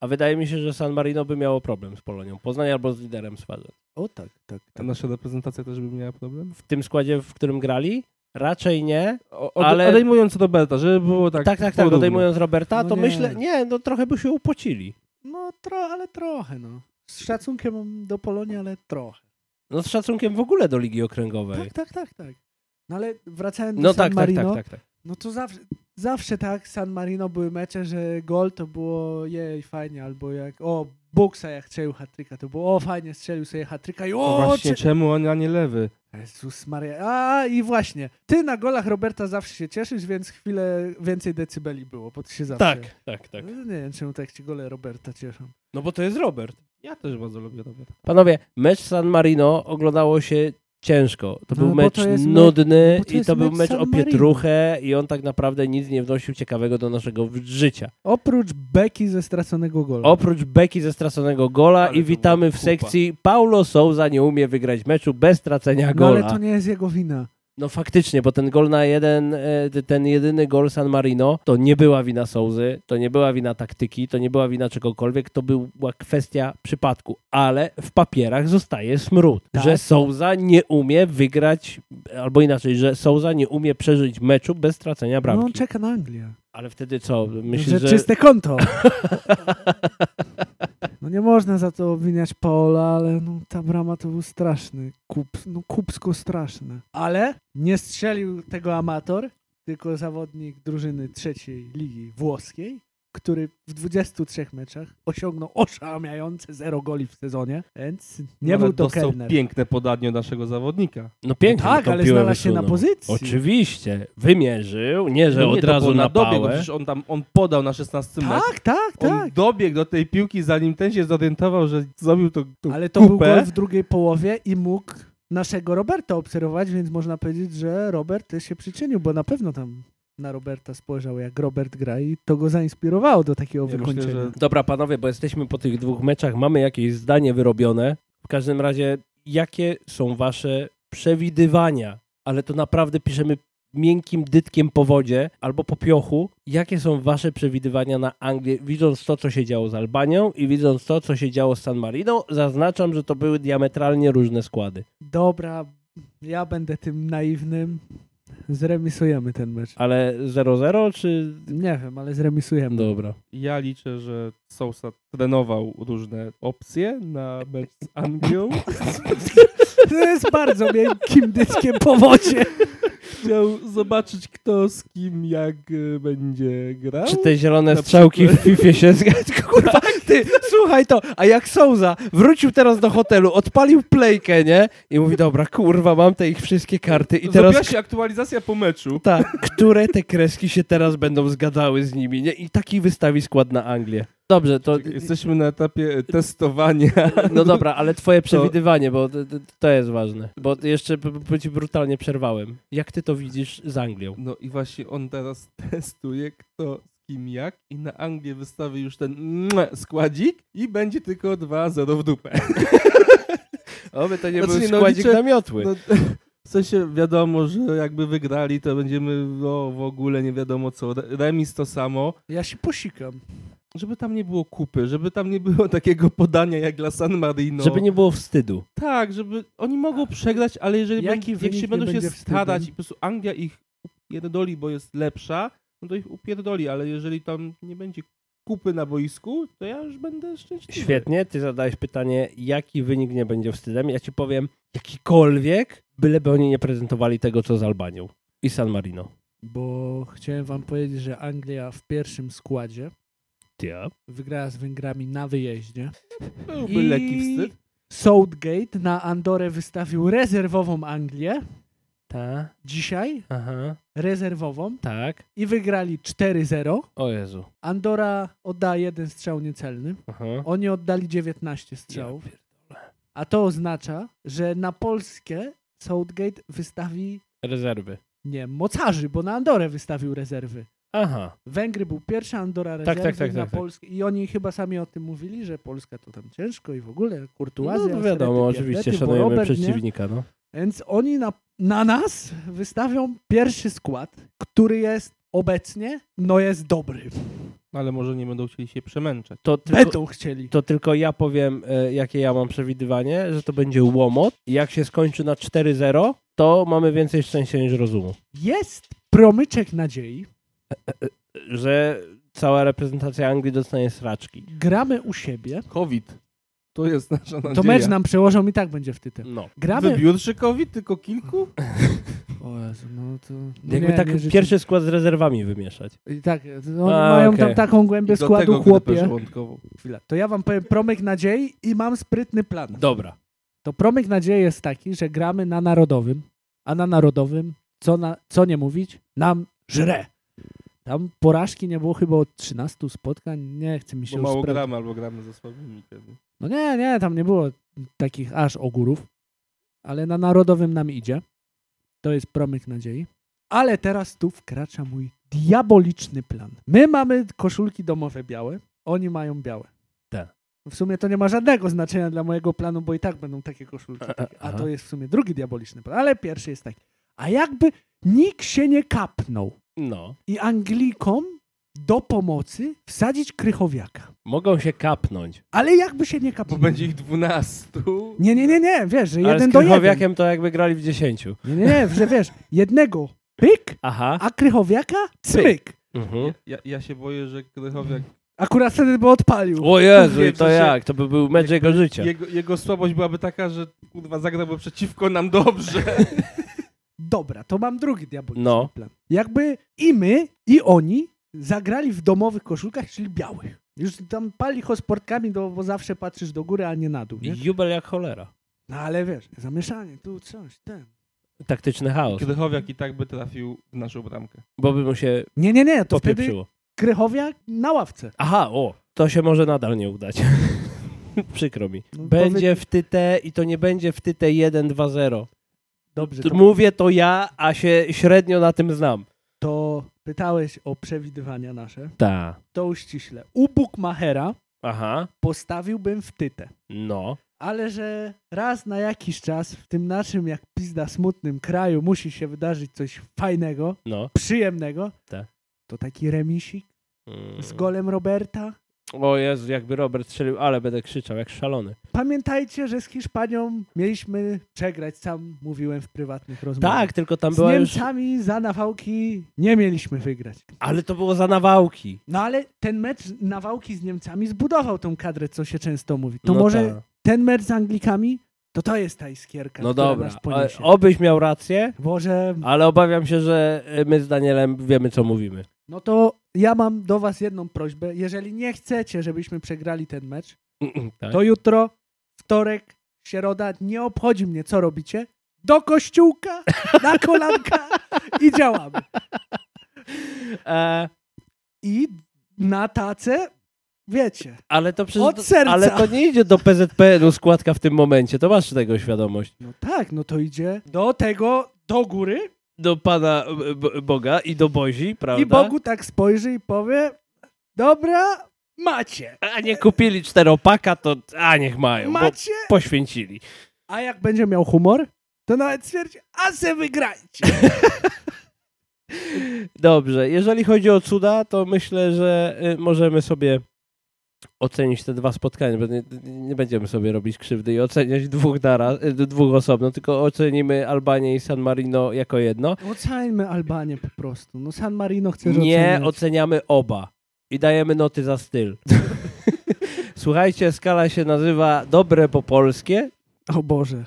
Speaker 2: a wydaje mi się, że San Marino by miało problem z Polonią. Poznań albo z liderem Swadze.
Speaker 1: O tak, tak.
Speaker 3: A
Speaker 2: No.
Speaker 3: nasza reprezentacja też by miała problem?
Speaker 2: W tym składzie, w którym grali? Raczej nie.
Speaker 3: O,
Speaker 2: Ale-
Speaker 3: ale... Odejmując Roberta, żeby było tak.
Speaker 2: Tak, tak, tak.
Speaker 3: porówno.
Speaker 2: Odejmując Roberta,
Speaker 1: No
Speaker 2: to
Speaker 1: nie.
Speaker 2: myślę, nie, no trochę by się upocili.
Speaker 1: No, tro, ale trochę, no. Z szacunkiem do Polonii, ale trochę.
Speaker 2: No z szacunkiem w ogóle do Ligi Okręgowej.
Speaker 1: Tak, tak, tak, tak. No ale wracając do
Speaker 2: No
Speaker 1: San
Speaker 2: tak, tak,
Speaker 1: Marino,
Speaker 2: tak, tak, tak.
Speaker 1: no to zawsze, zawsze tak San Marino były mecze, że gol to było jej fajnie, albo jak o, Buksa jak strzelił hatryka, to było o, fajnie strzelił sobie hatryka i
Speaker 3: O,
Speaker 2: No
Speaker 1: o,
Speaker 3: właśnie, czemu on, a nie lewy?
Speaker 1: Jezus Maria. A i właśnie. Ty na golach Roberta zawsze się cieszysz, więc chwilę więcej decybeli było, bo ty się zawsze...
Speaker 2: Tak, tak, tak.
Speaker 1: No, Nie wiem, czemu tak ci gole Roberta cieszą.
Speaker 2: No bo to jest Robert.
Speaker 3: Ja też bardzo lubię Roberta.
Speaker 2: Panowie, mecz San Marino oglądało się ciężko. To
Speaker 1: No,
Speaker 2: był
Speaker 1: bo
Speaker 2: mecz
Speaker 1: to jest me-
Speaker 2: nudny
Speaker 1: bo to
Speaker 2: i
Speaker 1: jest
Speaker 2: to był
Speaker 1: mecz
Speaker 2: mecz
Speaker 1: San
Speaker 2: o
Speaker 1: Marino.
Speaker 2: pietruchę i on tak naprawdę nic nie wnosił ciekawego do naszego w- życia.
Speaker 1: Oprócz beki ze straconego gola.
Speaker 2: Oprócz beki ze straconego gola
Speaker 3: Ale
Speaker 2: i
Speaker 3: to
Speaker 2: witamy w
Speaker 3: była
Speaker 2: sekcji Paulo Souza nie umie wygrać meczu bez tracenia
Speaker 1: no
Speaker 2: gola.
Speaker 1: ale to nie jest jego wina.
Speaker 2: No faktycznie, bo ten gol na jeden, e, t- ten jedyny gol San Marino, to nie była wina Souzy, to nie była wina taktyki, to nie była wina czegokolwiek, to była kwestia przypadku. Ale w papierach zostaje smród,
Speaker 1: Tak.
Speaker 2: że Souza nie umie wygrać, albo inaczej, że Souza nie umie przeżyć meczu bez stracenia
Speaker 1: No
Speaker 2: bramki.
Speaker 1: on czeka na Anglię.
Speaker 2: Ale wtedy co?
Speaker 1: że,
Speaker 2: Myślisz, że...
Speaker 1: czyste
Speaker 2: [LAUGHS]
Speaker 1: konto. No nie można za to obwiniać Paola, ale no, ta brama to był straszny. Kup, no kupsko straszny. Ale nie strzelił tego amator, tylko zawodnik drużyny trzeciej ligi włoskiej, który w 23 meczach osiągnął oszałamiające 0 goli w sezonie, więc nie
Speaker 3: Nawet
Speaker 1: był to
Speaker 3: dostał
Speaker 1: kelner.
Speaker 3: piękne podanie od naszego zawodnika.
Speaker 2: No pięknie
Speaker 1: No tak,
Speaker 2: tą
Speaker 1: ale
Speaker 2: piłę
Speaker 1: znalazł się na
Speaker 2: wysunął.
Speaker 1: pozycji.
Speaker 2: Oczywiście. Wymierzył, nie, że
Speaker 3: No nie,
Speaker 2: od
Speaker 3: to
Speaker 2: razu
Speaker 3: było
Speaker 2: na
Speaker 3: dobieg, bo
Speaker 2: pałę.
Speaker 3: przecież on tam, on podał na 16 metrze.
Speaker 1: Tak, tak,
Speaker 3: On
Speaker 1: tak.
Speaker 3: dobiegł do tej piłki, zanim ten się zorientował, że zrobił to tą
Speaker 1: Ale to był
Speaker 3: kupę.
Speaker 1: gol w drugiej połowie i mógł naszego Roberta obserwować, więc można powiedzieć, że Robert też się przyczynił, bo na pewno tam na Roberta spojrzał, jak Robert gra i to go zainspirowało do takiego
Speaker 3: Nie, myślę,
Speaker 1: wykończenia.
Speaker 3: że-
Speaker 2: Dobra, panowie, bo jesteśmy po tych dwóch meczach, mamy jakieś zdanie wyrobione. W każdym razie, jakie są wasze przewidywania? Ale to naprawdę piszemy miękkim dytkiem po wodzie albo po piochu. Jakie są wasze przewidywania na Anglię, widząc to, co się działo z Albanią i widząc to, co się działo z San Marino? Zaznaczam, że to były diametralnie różne składy.
Speaker 1: Dobra, ja będę tym naiwnym. Zremisujemy ten mecz.
Speaker 2: Ale 0-0 czy...
Speaker 1: Nie wiem, ale zremisujemy.
Speaker 2: Dobra.
Speaker 3: Ja liczę, że Sousa trenował różne opcje na mecz z Anglią.
Speaker 1: To jest bardzo miękkim dytkiem po wodzie.
Speaker 3: [LAUGHS] Chciał zobaczyć kto z kim jak y, będzie grał.
Speaker 2: Czy te zielone
Speaker 3: Na
Speaker 2: strzałki w FIFA [LAUGHS] się zgadzają? Kurwa, ty, słuchaj to, a jak Souza wrócił teraz do hotelu, odpalił playkę, nie? I mówi, dobra, kurwa, mam te ich wszystkie karty i teraz...
Speaker 3: Zrobiła się aktualizacja po meczu.
Speaker 2: Tak, które te kreski się teraz będą zgadały z nimi, nie? I taki wystawi skład na Anglię. Dobrze, to...
Speaker 3: No, Jesteśmy na etapie e, testowania. [LAUGHS]
Speaker 2: No dobra, ale twoje przewidywanie, bo to, to- to jest ważne. Bo jeszcze b- b- ci brutalnie przerwałem. Jak ty to widzisz z Anglią?
Speaker 3: No i właśnie on teraz testuje kto z kim jak i na Anglię wystawi już ten mua składzik i będzie tylko 2-0 w [LAUGHS] dupę.
Speaker 2: Oby to nie
Speaker 3: Znaczy,
Speaker 2: był
Speaker 3: no,
Speaker 2: składzik
Speaker 3: liczę-
Speaker 2: na miotły.
Speaker 3: No, w sensie wiadomo, że jakby wygrali to będziemy no, w ogóle nie wiadomo co. Re- Remis to samo.
Speaker 1: Ja się posikam.
Speaker 3: Żeby tam nie było kupy, żeby tam nie było [LAUGHS] takiego podania jak dla San Marino.
Speaker 2: Żeby nie było wstydu.
Speaker 3: Tak, żeby oni mogą przegrać, ale jeżeli
Speaker 1: Jaki
Speaker 3: będzie, jak
Speaker 1: wynik
Speaker 3: się
Speaker 1: nie
Speaker 3: będą się
Speaker 1: będzie wstydem?
Speaker 3: starać i po prostu Anglia ich upierdoli, bo jest lepsza, no to ich upierdoli, ale jeżeli tam nie będzie kupy na boisku, to ja już będę szczęśliwy.
Speaker 2: Świetnie, ty zadałeś pytanie, jaki wynik nie będzie wstydem. Ja ci powiem, jakikolwiek, byleby oni nie prezentowali tego, co z Albanią i San Marino.
Speaker 1: Bo chciałem wam powiedzieć, że Anglia w pierwszym składzie
Speaker 2: Szkocja.
Speaker 1: Wygrała z Węgrami na wyjeździe.
Speaker 3: Byłby
Speaker 1: I-
Speaker 3: lekki wstyd.
Speaker 1: Southgate na Andorę wystawił rezerwową Anglię.
Speaker 2: Ta,
Speaker 1: Dzisiaj
Speaker 2: aha,
Speaker 1: rezerwową.
Speaker 2: tak.
Speaker 1: I wygrali 4-0.
Speaker 2: O Jezu.
Speaker 1: Andora oddała jeden strzał niecelny.
Speaker 2: Aha.
Speaker 1: Oni oddali 19 strzałów. A to oznacza, że na Polskę Southgate wystawi,
Speaker 2: Rezerwy.
Speaker 1: nie, mocarzy, bo na Andorę wystawił rezerwy.
Speaker 2: Aha.
Speaker 1: Węgry był pierwszy, Andora rezerwy
Speaker 2: tak, tak,
Speaker 1: na
Speaker 2: tak, tak.
Speaker 1: Polskę. I oni chyba sami o tym mówili, że Polska to tam ciężko i w ogóle kurtuazja.
Speaker 2: No,
Speaker 1: aserety,
Speaker 2: wiadomo, oczywiście,
Speaker 1: pierdety, bo
Speaker 2: szanujemy
Speaker 1: Robert, nie?
Speaker 2: przeciwnika, no.
Speaker 1: Więc oni na, na nas wystawią pierwszy skład, który jest obecnie, no jest dobry.
Speaker 3: no Ale może nie będą chcieli się przemęczać.
Speaker 2: To tylko,
Speaker 1: Będą chcieli.
Speaker 2: to tylko ja powiem, e, jakie ja mam przewidywanie, że to będzie łomot. Jak się skończy na 4-0, to mamy więcej szczęścia niż rozumu.
Speaker 1: Jest promyczek nadziei.
Speaker 2: Że cała reprezentacja Anglii dostanie sraczki.
Speaker 1: Gramy u siebie.
Speaker 3: COVID. To jest nasza nadzieja.
Speaker 1: To mecz nam przełożą i tak będzie w tytule.
Speaker 2: No.
Speaker 1: Gramy...
Speaker 3: Wybił trzy COVID, tylko kilku?
Speaker 1: O Jezu, no to... no
Speaker 2: Jakby
Speaker 1: nie,
Speaker 2: tak
Speaker 1: nie, że-
Speaker 2: pierwszy skład z rezerwami wymieszać.
Speaker 1: I Tak, oni
Speaker 2: A,
Speaker 1: mają
Speaker 2: okej.
Speaker 1: tam taką głębię
Speaker 3: Do tego
Speaker 1: składu,
Speaker 3: grypę
Speaker 1: chłopie.
Speaker 3: żołądkową.
Speaker 1: Chwila. To ja wam powiem promyk nadziei i mam sprytny plan.
Speaker 2: Dobra.
Speaker 1: To promyk nadziei jest taki, że gramy na narodowym, a na narodowym, co, na, co nie mówić, nam żre. Tam porażki nie było chyba od 13 spotkań, nie chce mi się
Speaker 3: Bo
Speaker 1: już
Speaker 3: mało
Speaker 1: sprawdzać.
Speaker 3: gramy albo gramy ze słabymi. pewnie.
Speaker 1: No nie, nie, tam nie było takich aż ogórów, ale na narodowym nam idzie. To jest promyk nadziei. Ale teraz tu wkracza mój diaboliczny plan. My mamy koszulki domowe białe, oni mają białe.
Speaker 2: Tak.
Speaker 1: W sumie to nie ma żadnego znaczenia dla mojego planu, bo i tak będą takie
Speaker 3: [LAUGHS]
Speaker 1: koszulki. Takie. A
Speaker 2: aha.
Speaker 1: to jest w sumie drugi diaboliczny plan, ale pierwszy jest taki. A jakby nikt się nie kapnął
Speaker 2: No.
Speaker 1: i Anglikom do pomocy wsadzić krychowiaka.
Speaker 2: Mogą się kapnąć.
Speaker 1: Ale jakby się nie
Speaker 3: Bo
Speaker 1: kapnął.
Speaker 3: będzie ich dwunastu.
Speaker 1: Nie, nie, nie, nie, wiesz, że
Speaker 2: Ale
Speaker 1: jeden
Speaker 2: z
Speaker 1: do jeden.
Speaker 2: Krychowiakiem to jakby grali w dziesięciu.
Speaker 1: Nie, nie, nie, że wiesz, jednego pyk,
Speaker 2: Aha.
Speaker 1: a krychowiaka cmyk.
Speaker 2: Mhm.
Speaker 3: Ja, ja się boję, że Krychowiak...
Speaker 1: Akurat wtedy by odpalił.
Speaker 2: O Jezu,
Speaker 3: Wiem,
Speaker 2: i to
Speaker 3: że się-
Speaker 2: jak? To by był mecz jego życia.
Speaker 3: Jego, jego słabość byłaby taka, że kurwa zagrałby przeciwko
Speaker 1: [LAUGHS]
Speaker 3: nam dobrze.
Speaker 1: Dobra, to mam drugi diaboliczny
Speaker 2: No.
Speaker 1: plan. Jakby i my, i oni zagrali w domowych koszulkach, czyli białych. Już tam pali sportkami, no, bo zawsze patrzysz do góry, a nie na dół, nie?
Speaker 2: Jubel jak cholera.
Speaker 1: No ale wiesz, zamieszanie, tu coś, ten.
Speaker 2: Taktyczny chaos.
Speaker 3: Krychowiak i tak by trafił w naszą bramkę.
Speaker 2: Bo by mu się
Speaker 1: Nie, nie, nie, to wtedy
Speaker 2: popieprzyło.
Speaker 1: krychowiak na ławce.
Speaker 2: Aha, o. To się może nadal nie udać. [LAUGHS] Przykro mi.
Speaker 1: No,
Speaker 2: Będzie
Speaker 1: powiedz-
Speaker 2: w tyte i to nie będzie w tyte 1-2-0.
Speaker 1: Dobrze,
Speaker 2: T-
Speaker 1: to,
Speaker 2: Mówię to ja, a się średnio na tym znam.
Speaker 1: to pytałeś o przewidywania nasze.
Speaker 2: Ta.
Speaker 1: To uściśle. U Bukmachera
Speaker 2: Aha.
Speaker 1: postawiłbym w tytę.
Speaker 2: No.
Speaker 1: Ale że raz na jakiś czas w tym naszym, jak pizda, smutnym kraju musi się wydarzyć coś fajnego,
Speaker 2: No.
Speaker 1: przyjemnego,
Speaker 2: Tak.
Speaker 1: to taki remisik
Speaker 2: Mm.
Speaker 1: z golem Roberta.
Speaker 2: O Jezu, jakby Robert strzelił, ale będę krzyczał jak szalony.
Speaker 1: Pamiętajcie, że z Hiszpanią mieliśmy przegrać, sam mówiłem w prywatnych rozmowach.
Speaker 2: Tak, tylko tam
Speaker 1: z
Speaker 2: była już...
Speaker 1: Niemcami za nawałki nie mieliśmy wygrać.
Speaker 2: Ale to było za nawałki.
Speaker 1: No ale ten mecz nawałki z Niemcami zbudował tą kadrę, co się często mówi. To
Speaker 2: No
Speaker 1: może
Speaker 2: ta.
Speaker 1: ten mecz z Anglikami, to to jest ta iskierka,
Speaker 2: No
Speaker 1: która
Speaker 2: dobra,
Speaker 1: nas
Speaker 2: ale
Speaker 1: poniesie.
Speaker 2: obyś miał rację,
Speaker 1: Boże,
Speaker 2: ale obawiam się, że my z Danielem wiemy, co [CLEARS THROAT] mówimy.
Speaker 1: no to ja mam do was jedną prośbę. Jeżeli nie chcecie, żebyśmy przegrali ten mecz,
Speaker 2: Tak?
Speaker 1: to jutro, wtorek, środa, nie obchodzi mnie, co robicie. Do kościółka, na kolanka i działamy.
Speaker 2: E,
Speaker 1: I na tacę, wiecie,
Speaker 2: ale to przecież...
Speaker 1: Od serca.
Speaker 2: Ale to nie idzie do PZPN-u składka w tym momencie, to masz tego świadomość.
Speaker 1: no tak, no to idzie do tego, do góry
Speaker 2: Do Pana e, B- Boga i do Bozi, prawda?
Speaker 1: i Bogu tak spojrzy i powie, dobra, macie,
Speaker 2: A nie kupili czteropaka, to a niech mają, bo
Speaker 1: macie.
Speaker 2: poświęcili.
Speaker 1: A jak będzie miał humor, to nawet stwierdzi, a se wygrajcie.
Speaker 2: Dobrze, jeżeli chodzi o cuda, to myślę, że y, możemy sobie ocenić te dwa spotkania, bo nie, nie będziemy sobie robić krzywdy i oceniać dwóch, naraz, y, dwóch osobno, tylko ocenimy Albanię i San Marino jako jedno.
Speaker 1: Ocańmy No Albanię po prostu. No San Marino chce
Speaker 2: Nie
Speaker 1: oceniać.
Speaker 2: oceniamy oba i dajemy noty za styl. Słuchajcie, skala się nazywa Dobre po polskie.
Speaker 1: O Boże.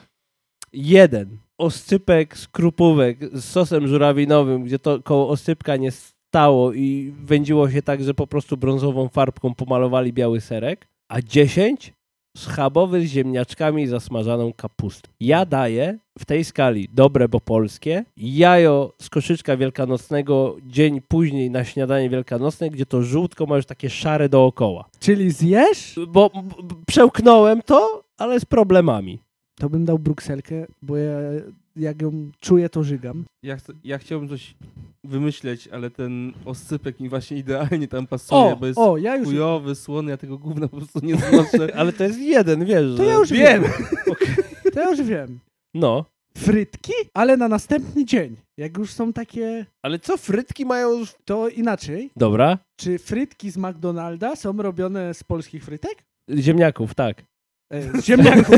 Speaker 2: Jeden. Oscypek z krupówek z sosem żurawinowym, gdzie to koło oscypka nie stało i wędziło się tak, że po prostu brązową farbką pomalowali biały serek, a 10 schabowy z ziemniaczkami i zasmażaną kapustą. Ja daję w tej skali dobre, bo polskie, jajo z koszyczka wielkanocnego dzień później na śniadanie wielkanocne, gdzie to żółtko ma już takie szare dookoła.
Speaker 1: Czyli zjesz?
Speaker 2: Bo b- b- przełknąłem to, ale z problemami.
Speaker 1: To bym dał brukselkę, bo ja jak ją czuję, to żygam.
Speaker 3: Ja, chcę, ja chciałbym coś wymyśleć, ale ten osypek mi właśnie idealnie tam pasuje, bo jest
Speaker 1: o, ja już...
Speaker 3: chujowy, słony, ja tego gówna po prostu nie
Speaker 1: [LAUGHS]
Speaker 3: znoszę.
Speaker 2: Ale to jest jeden, wiesz.
Speaker 1: To
Speaker 2: że-
Speaker 1: ja już
Speaker 3: Wiem!
Speaker 1: To ja już wiem.
Speaker 2: No.
Speaker 1: Frytki, ale na następny dzień. Jak już są takie,
Speaker 2: Ale co frytki mają... z-
Speaker 1: to inaczej.
Speaker 2: Dobra.
Speaker 1: Czy frytki z McDonalda są robione z polskich frytek?
Speaker 2: Ziemniaków, tak. [LAUGHS]
Speaker 1: E, z ziemniaków.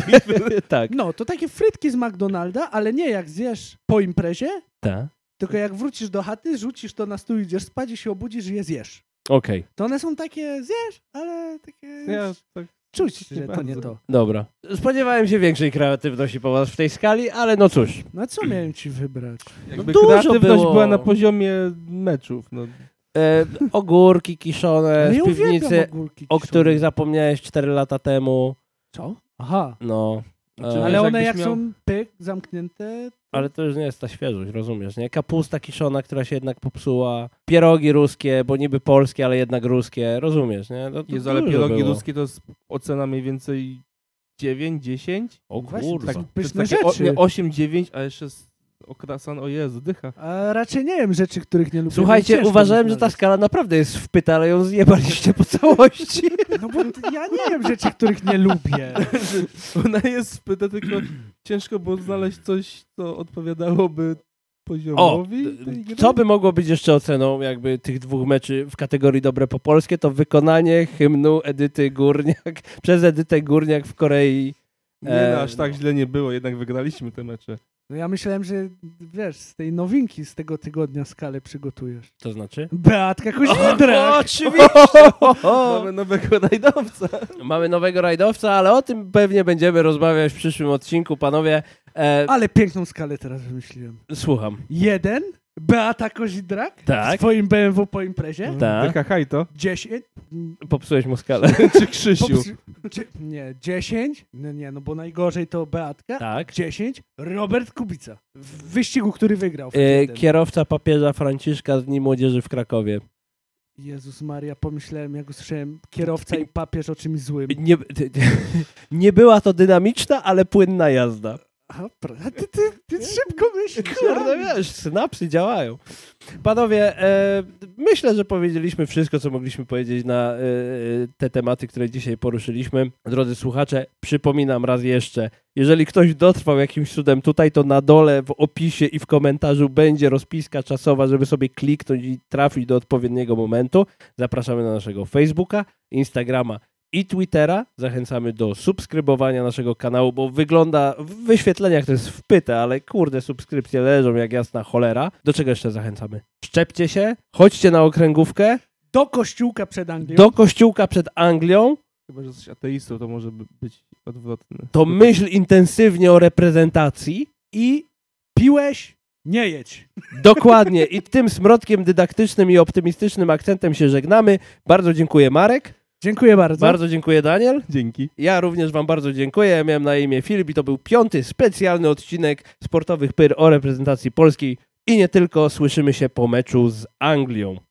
Speaker 2: tak.
Speaker 1: No, to takie frytki z McDonalda, ale nie jak zjesz po imprezie,
Speaker 2: Ta.
Speaker 1: tylko jak wrócisz do chaty, rzucisz to na stół, idziesz spać i się obudzisz i je zjesz.
Speaker 2: Okej,
Speaker 1: To one są takie, zjesz, ale takie...
Speaker 3: Ja tak
Speaker 1: Czuć,
Speaker 3: nie
Speaker 1: że to
Speaker 3: bardzo.
Speaker 1: nie to.
Speaker 2: dobra. Spodziewałem się większej kreatywności po was w tej skali, ale no cóż.
Speaker 1: No co miałem ci wybrać?
Speaker 3: Jakby
Speaker 2: dużo
Speaker 3: kreatywność
Speaker 2: było.
Speaker 3: była na poziomie meczów. No.
Speaker 2: E, ogórki kiszone
Speaker 1: No ja
Speaker 2: E, w
Speaker 1: uwielbiam
Speaker 2: piwnicy,
Speaker 1: ogórki
Speaker 2: o
Speaker 1: kiszone.
Speaker 2: których zapomniałeś 4 lata temu.
Speaker 1: Co? Aha.
Speaker 2: No.
Speaker 3: Znaczy,
Speaker 2: E,
Speaker 1: Ale
Speaker 3: Wiesz,
Speaker 1: one
Speaker 3: jakbyś
Speaker 1: jak
Speaker 3: miał-
Speaker 1: są pyk, zamknięte,
Speaker 2: Ale to już nie jest ta świeżość, rozumiesz, nie? Kapusta kiszona, która się jednak popsuła. Pierogi ruskie, bo niby polskie, ale jednak ruskie. Rozumiesz, nie? No, to
Speaker 3: Jezu, ale
Speaker 2: dużo
Speaker 3: pierogi
Speaker 2: było.
Speaker 3: ruskie to jest ocena mniej więcej 9, 10?
Speaker 2: O
Speaker 1: Właśnie,
Speaker 2: kurwa.
Speaker 1: tak
Speaker 3: To jest
Speaker 1: pyszne
Speaker 3: takie o-
Speaker 1: rzeczy.
Speaker 3: nie, 8, 9, a jeszcze z- okrasan, o Jezu, dycha. [LAUGHS]
Speaker 1: A raczej nie wiem rzeczy, których nie lubię.
Speaker 2: Słuchajcie,
Speaker 1: więc ciężko
Speaker 2: uważałem, że ta
Speaker 1: znaleźć.
Speaker 2: skala naprawdę jest wpyta, ale ją zjebaliście po [LAUGHS] całości.
Speaker 1: No bo ty- ja nie wiem rzeczy, których nie lubię.
Speaker 2: E,
Speaker 3: Ona jest spyta, tylko [CLEARS THROAT] ciężko było znaleźć coś, co odpowiadałoby
Speaker 2: O,
Speaker 3: poziomowi. tej gry.
Speaker 2: co by mogło być jeszcze oceną jakby tych dwóch meczy w kategorii dobre po polskie, to wykonanie hymnu Edyty Górniak [LAUGHS] przez Edytę Górniak w Korei.
Speaker 3: Nie,
Speaker 2: E,
Speaker 3: no, aż tak źle nie było, jednak wygraliśmy te mecze.
Speaker 1: No ja myślałem, że wiesz, z tej nowinki z tego tygodnia skalę przygotujesz.
Speaker 2: To znaczy?
Speaker 1: Beatka
Speaker 2: O,
Speaker 1: Kuźnidrak!
Speaker 2: oczywiście!
Speaker 3: Mamy nowego najdowca.
Speaker 2: Mamy nowego rajdowca, ale o tym pewnie będziemy rozmawiać w przyszłym odcinku, panowie. E,
Speaker 1: Ale piękną skalę teraz wymyśliłem.
Speaker 2: słucham.
Speaker 1: Jeden, Beata Kozidrak
Speaker 2: Tak.
Speaker 1: w swoim BMW po imprezie.
Speaker 2: Tak,
Speaker 3: Dycha hajto.
Speaker 1: Dziesięć.
Speaker 2: popsułeś mu skalę.
Speaker 3: [LAUGHS] Czy Krzysiu?
Speaker 1: Poprzy... Dzie... Nie, dziesięć. No nie, no bo najgorzej to Beatka.
Speaker 2: Tak.
Speaker 1: 10. Robert Kubica. W wyścigu, który wygrał. w
Speaker 2: E,
Speaker 1: F1.
Speaker 2: kierowca papieża Franciszka z Dni Młodzieży w Krakowie.
Speaker 1: Jezus Maria, pomyślałem, jak usłyszałem kierowca i papież o czymś złym.
Speaker 2: Nie, [LAUGHS] ty- ty- nie była to dynamiczna, ale płynna jazda.
Speaker 1: A, pra- a ty, ty, ty szybko myślisz.
Speaker 2: Kurde,
Speaker 1: a?
Speaker 2: wiesz, synapsy działają. Panowie, e, myślę, że powiedzieliśmy wszystko, co mogliśmy powiedzieć na e, te tematy, które dzisiaj poruszyliśmy. Drodzy słuchacze, przypominam raz jeszcze, jeżeli ktoś dotrwał jakimś cudem tutaj, to na dole w opisie i w komentarzu będzie rozpiska czasowa, żeby sobie kliknąć i trafić do odpowiedniego momentu. Zapraszamy na naszego Facebooka, Instagrama i Twittera. Zachęcamy do subskrybowania naszego kanału, bo wygląda w wyświetleniach to jest wpyte, ale kurde, subskrypcje leżą jak jasna cholera. Do czego jeszcze zachęcamy? Szczepcie się, chodźcie na okręgówkę,
Speaker 1: Do kościółka przed Anglią.
Speaker 2: do kościółka przed Anglią,
Speaker 3: Chyba, że jesteś ateistą, to może by- być odwrotny.
Speaker 2: to myśl intensywnie o reprezentacji i
Speaker 1: Piłeś? Nie jedź.
Speaker 2: dokładnie, i tym smrodkiem dydaktycznym i optymistycznym akcentem się żegnamy. Bardzo dziękuję Marek,
Speaker 1: Dziękuję bardzo.
Speaker 2: bardzo dziękuję Daniel.
Speaker 3: Dzięki.
Speaker 2: Ja również Wam bardzo dziękuję. Ja miałem na imię Filip i to był piąty specjalny odcinek sportowych pyr o reprezentacji polskiej i nie tylko. Słyszymy się po meczu z Anglią.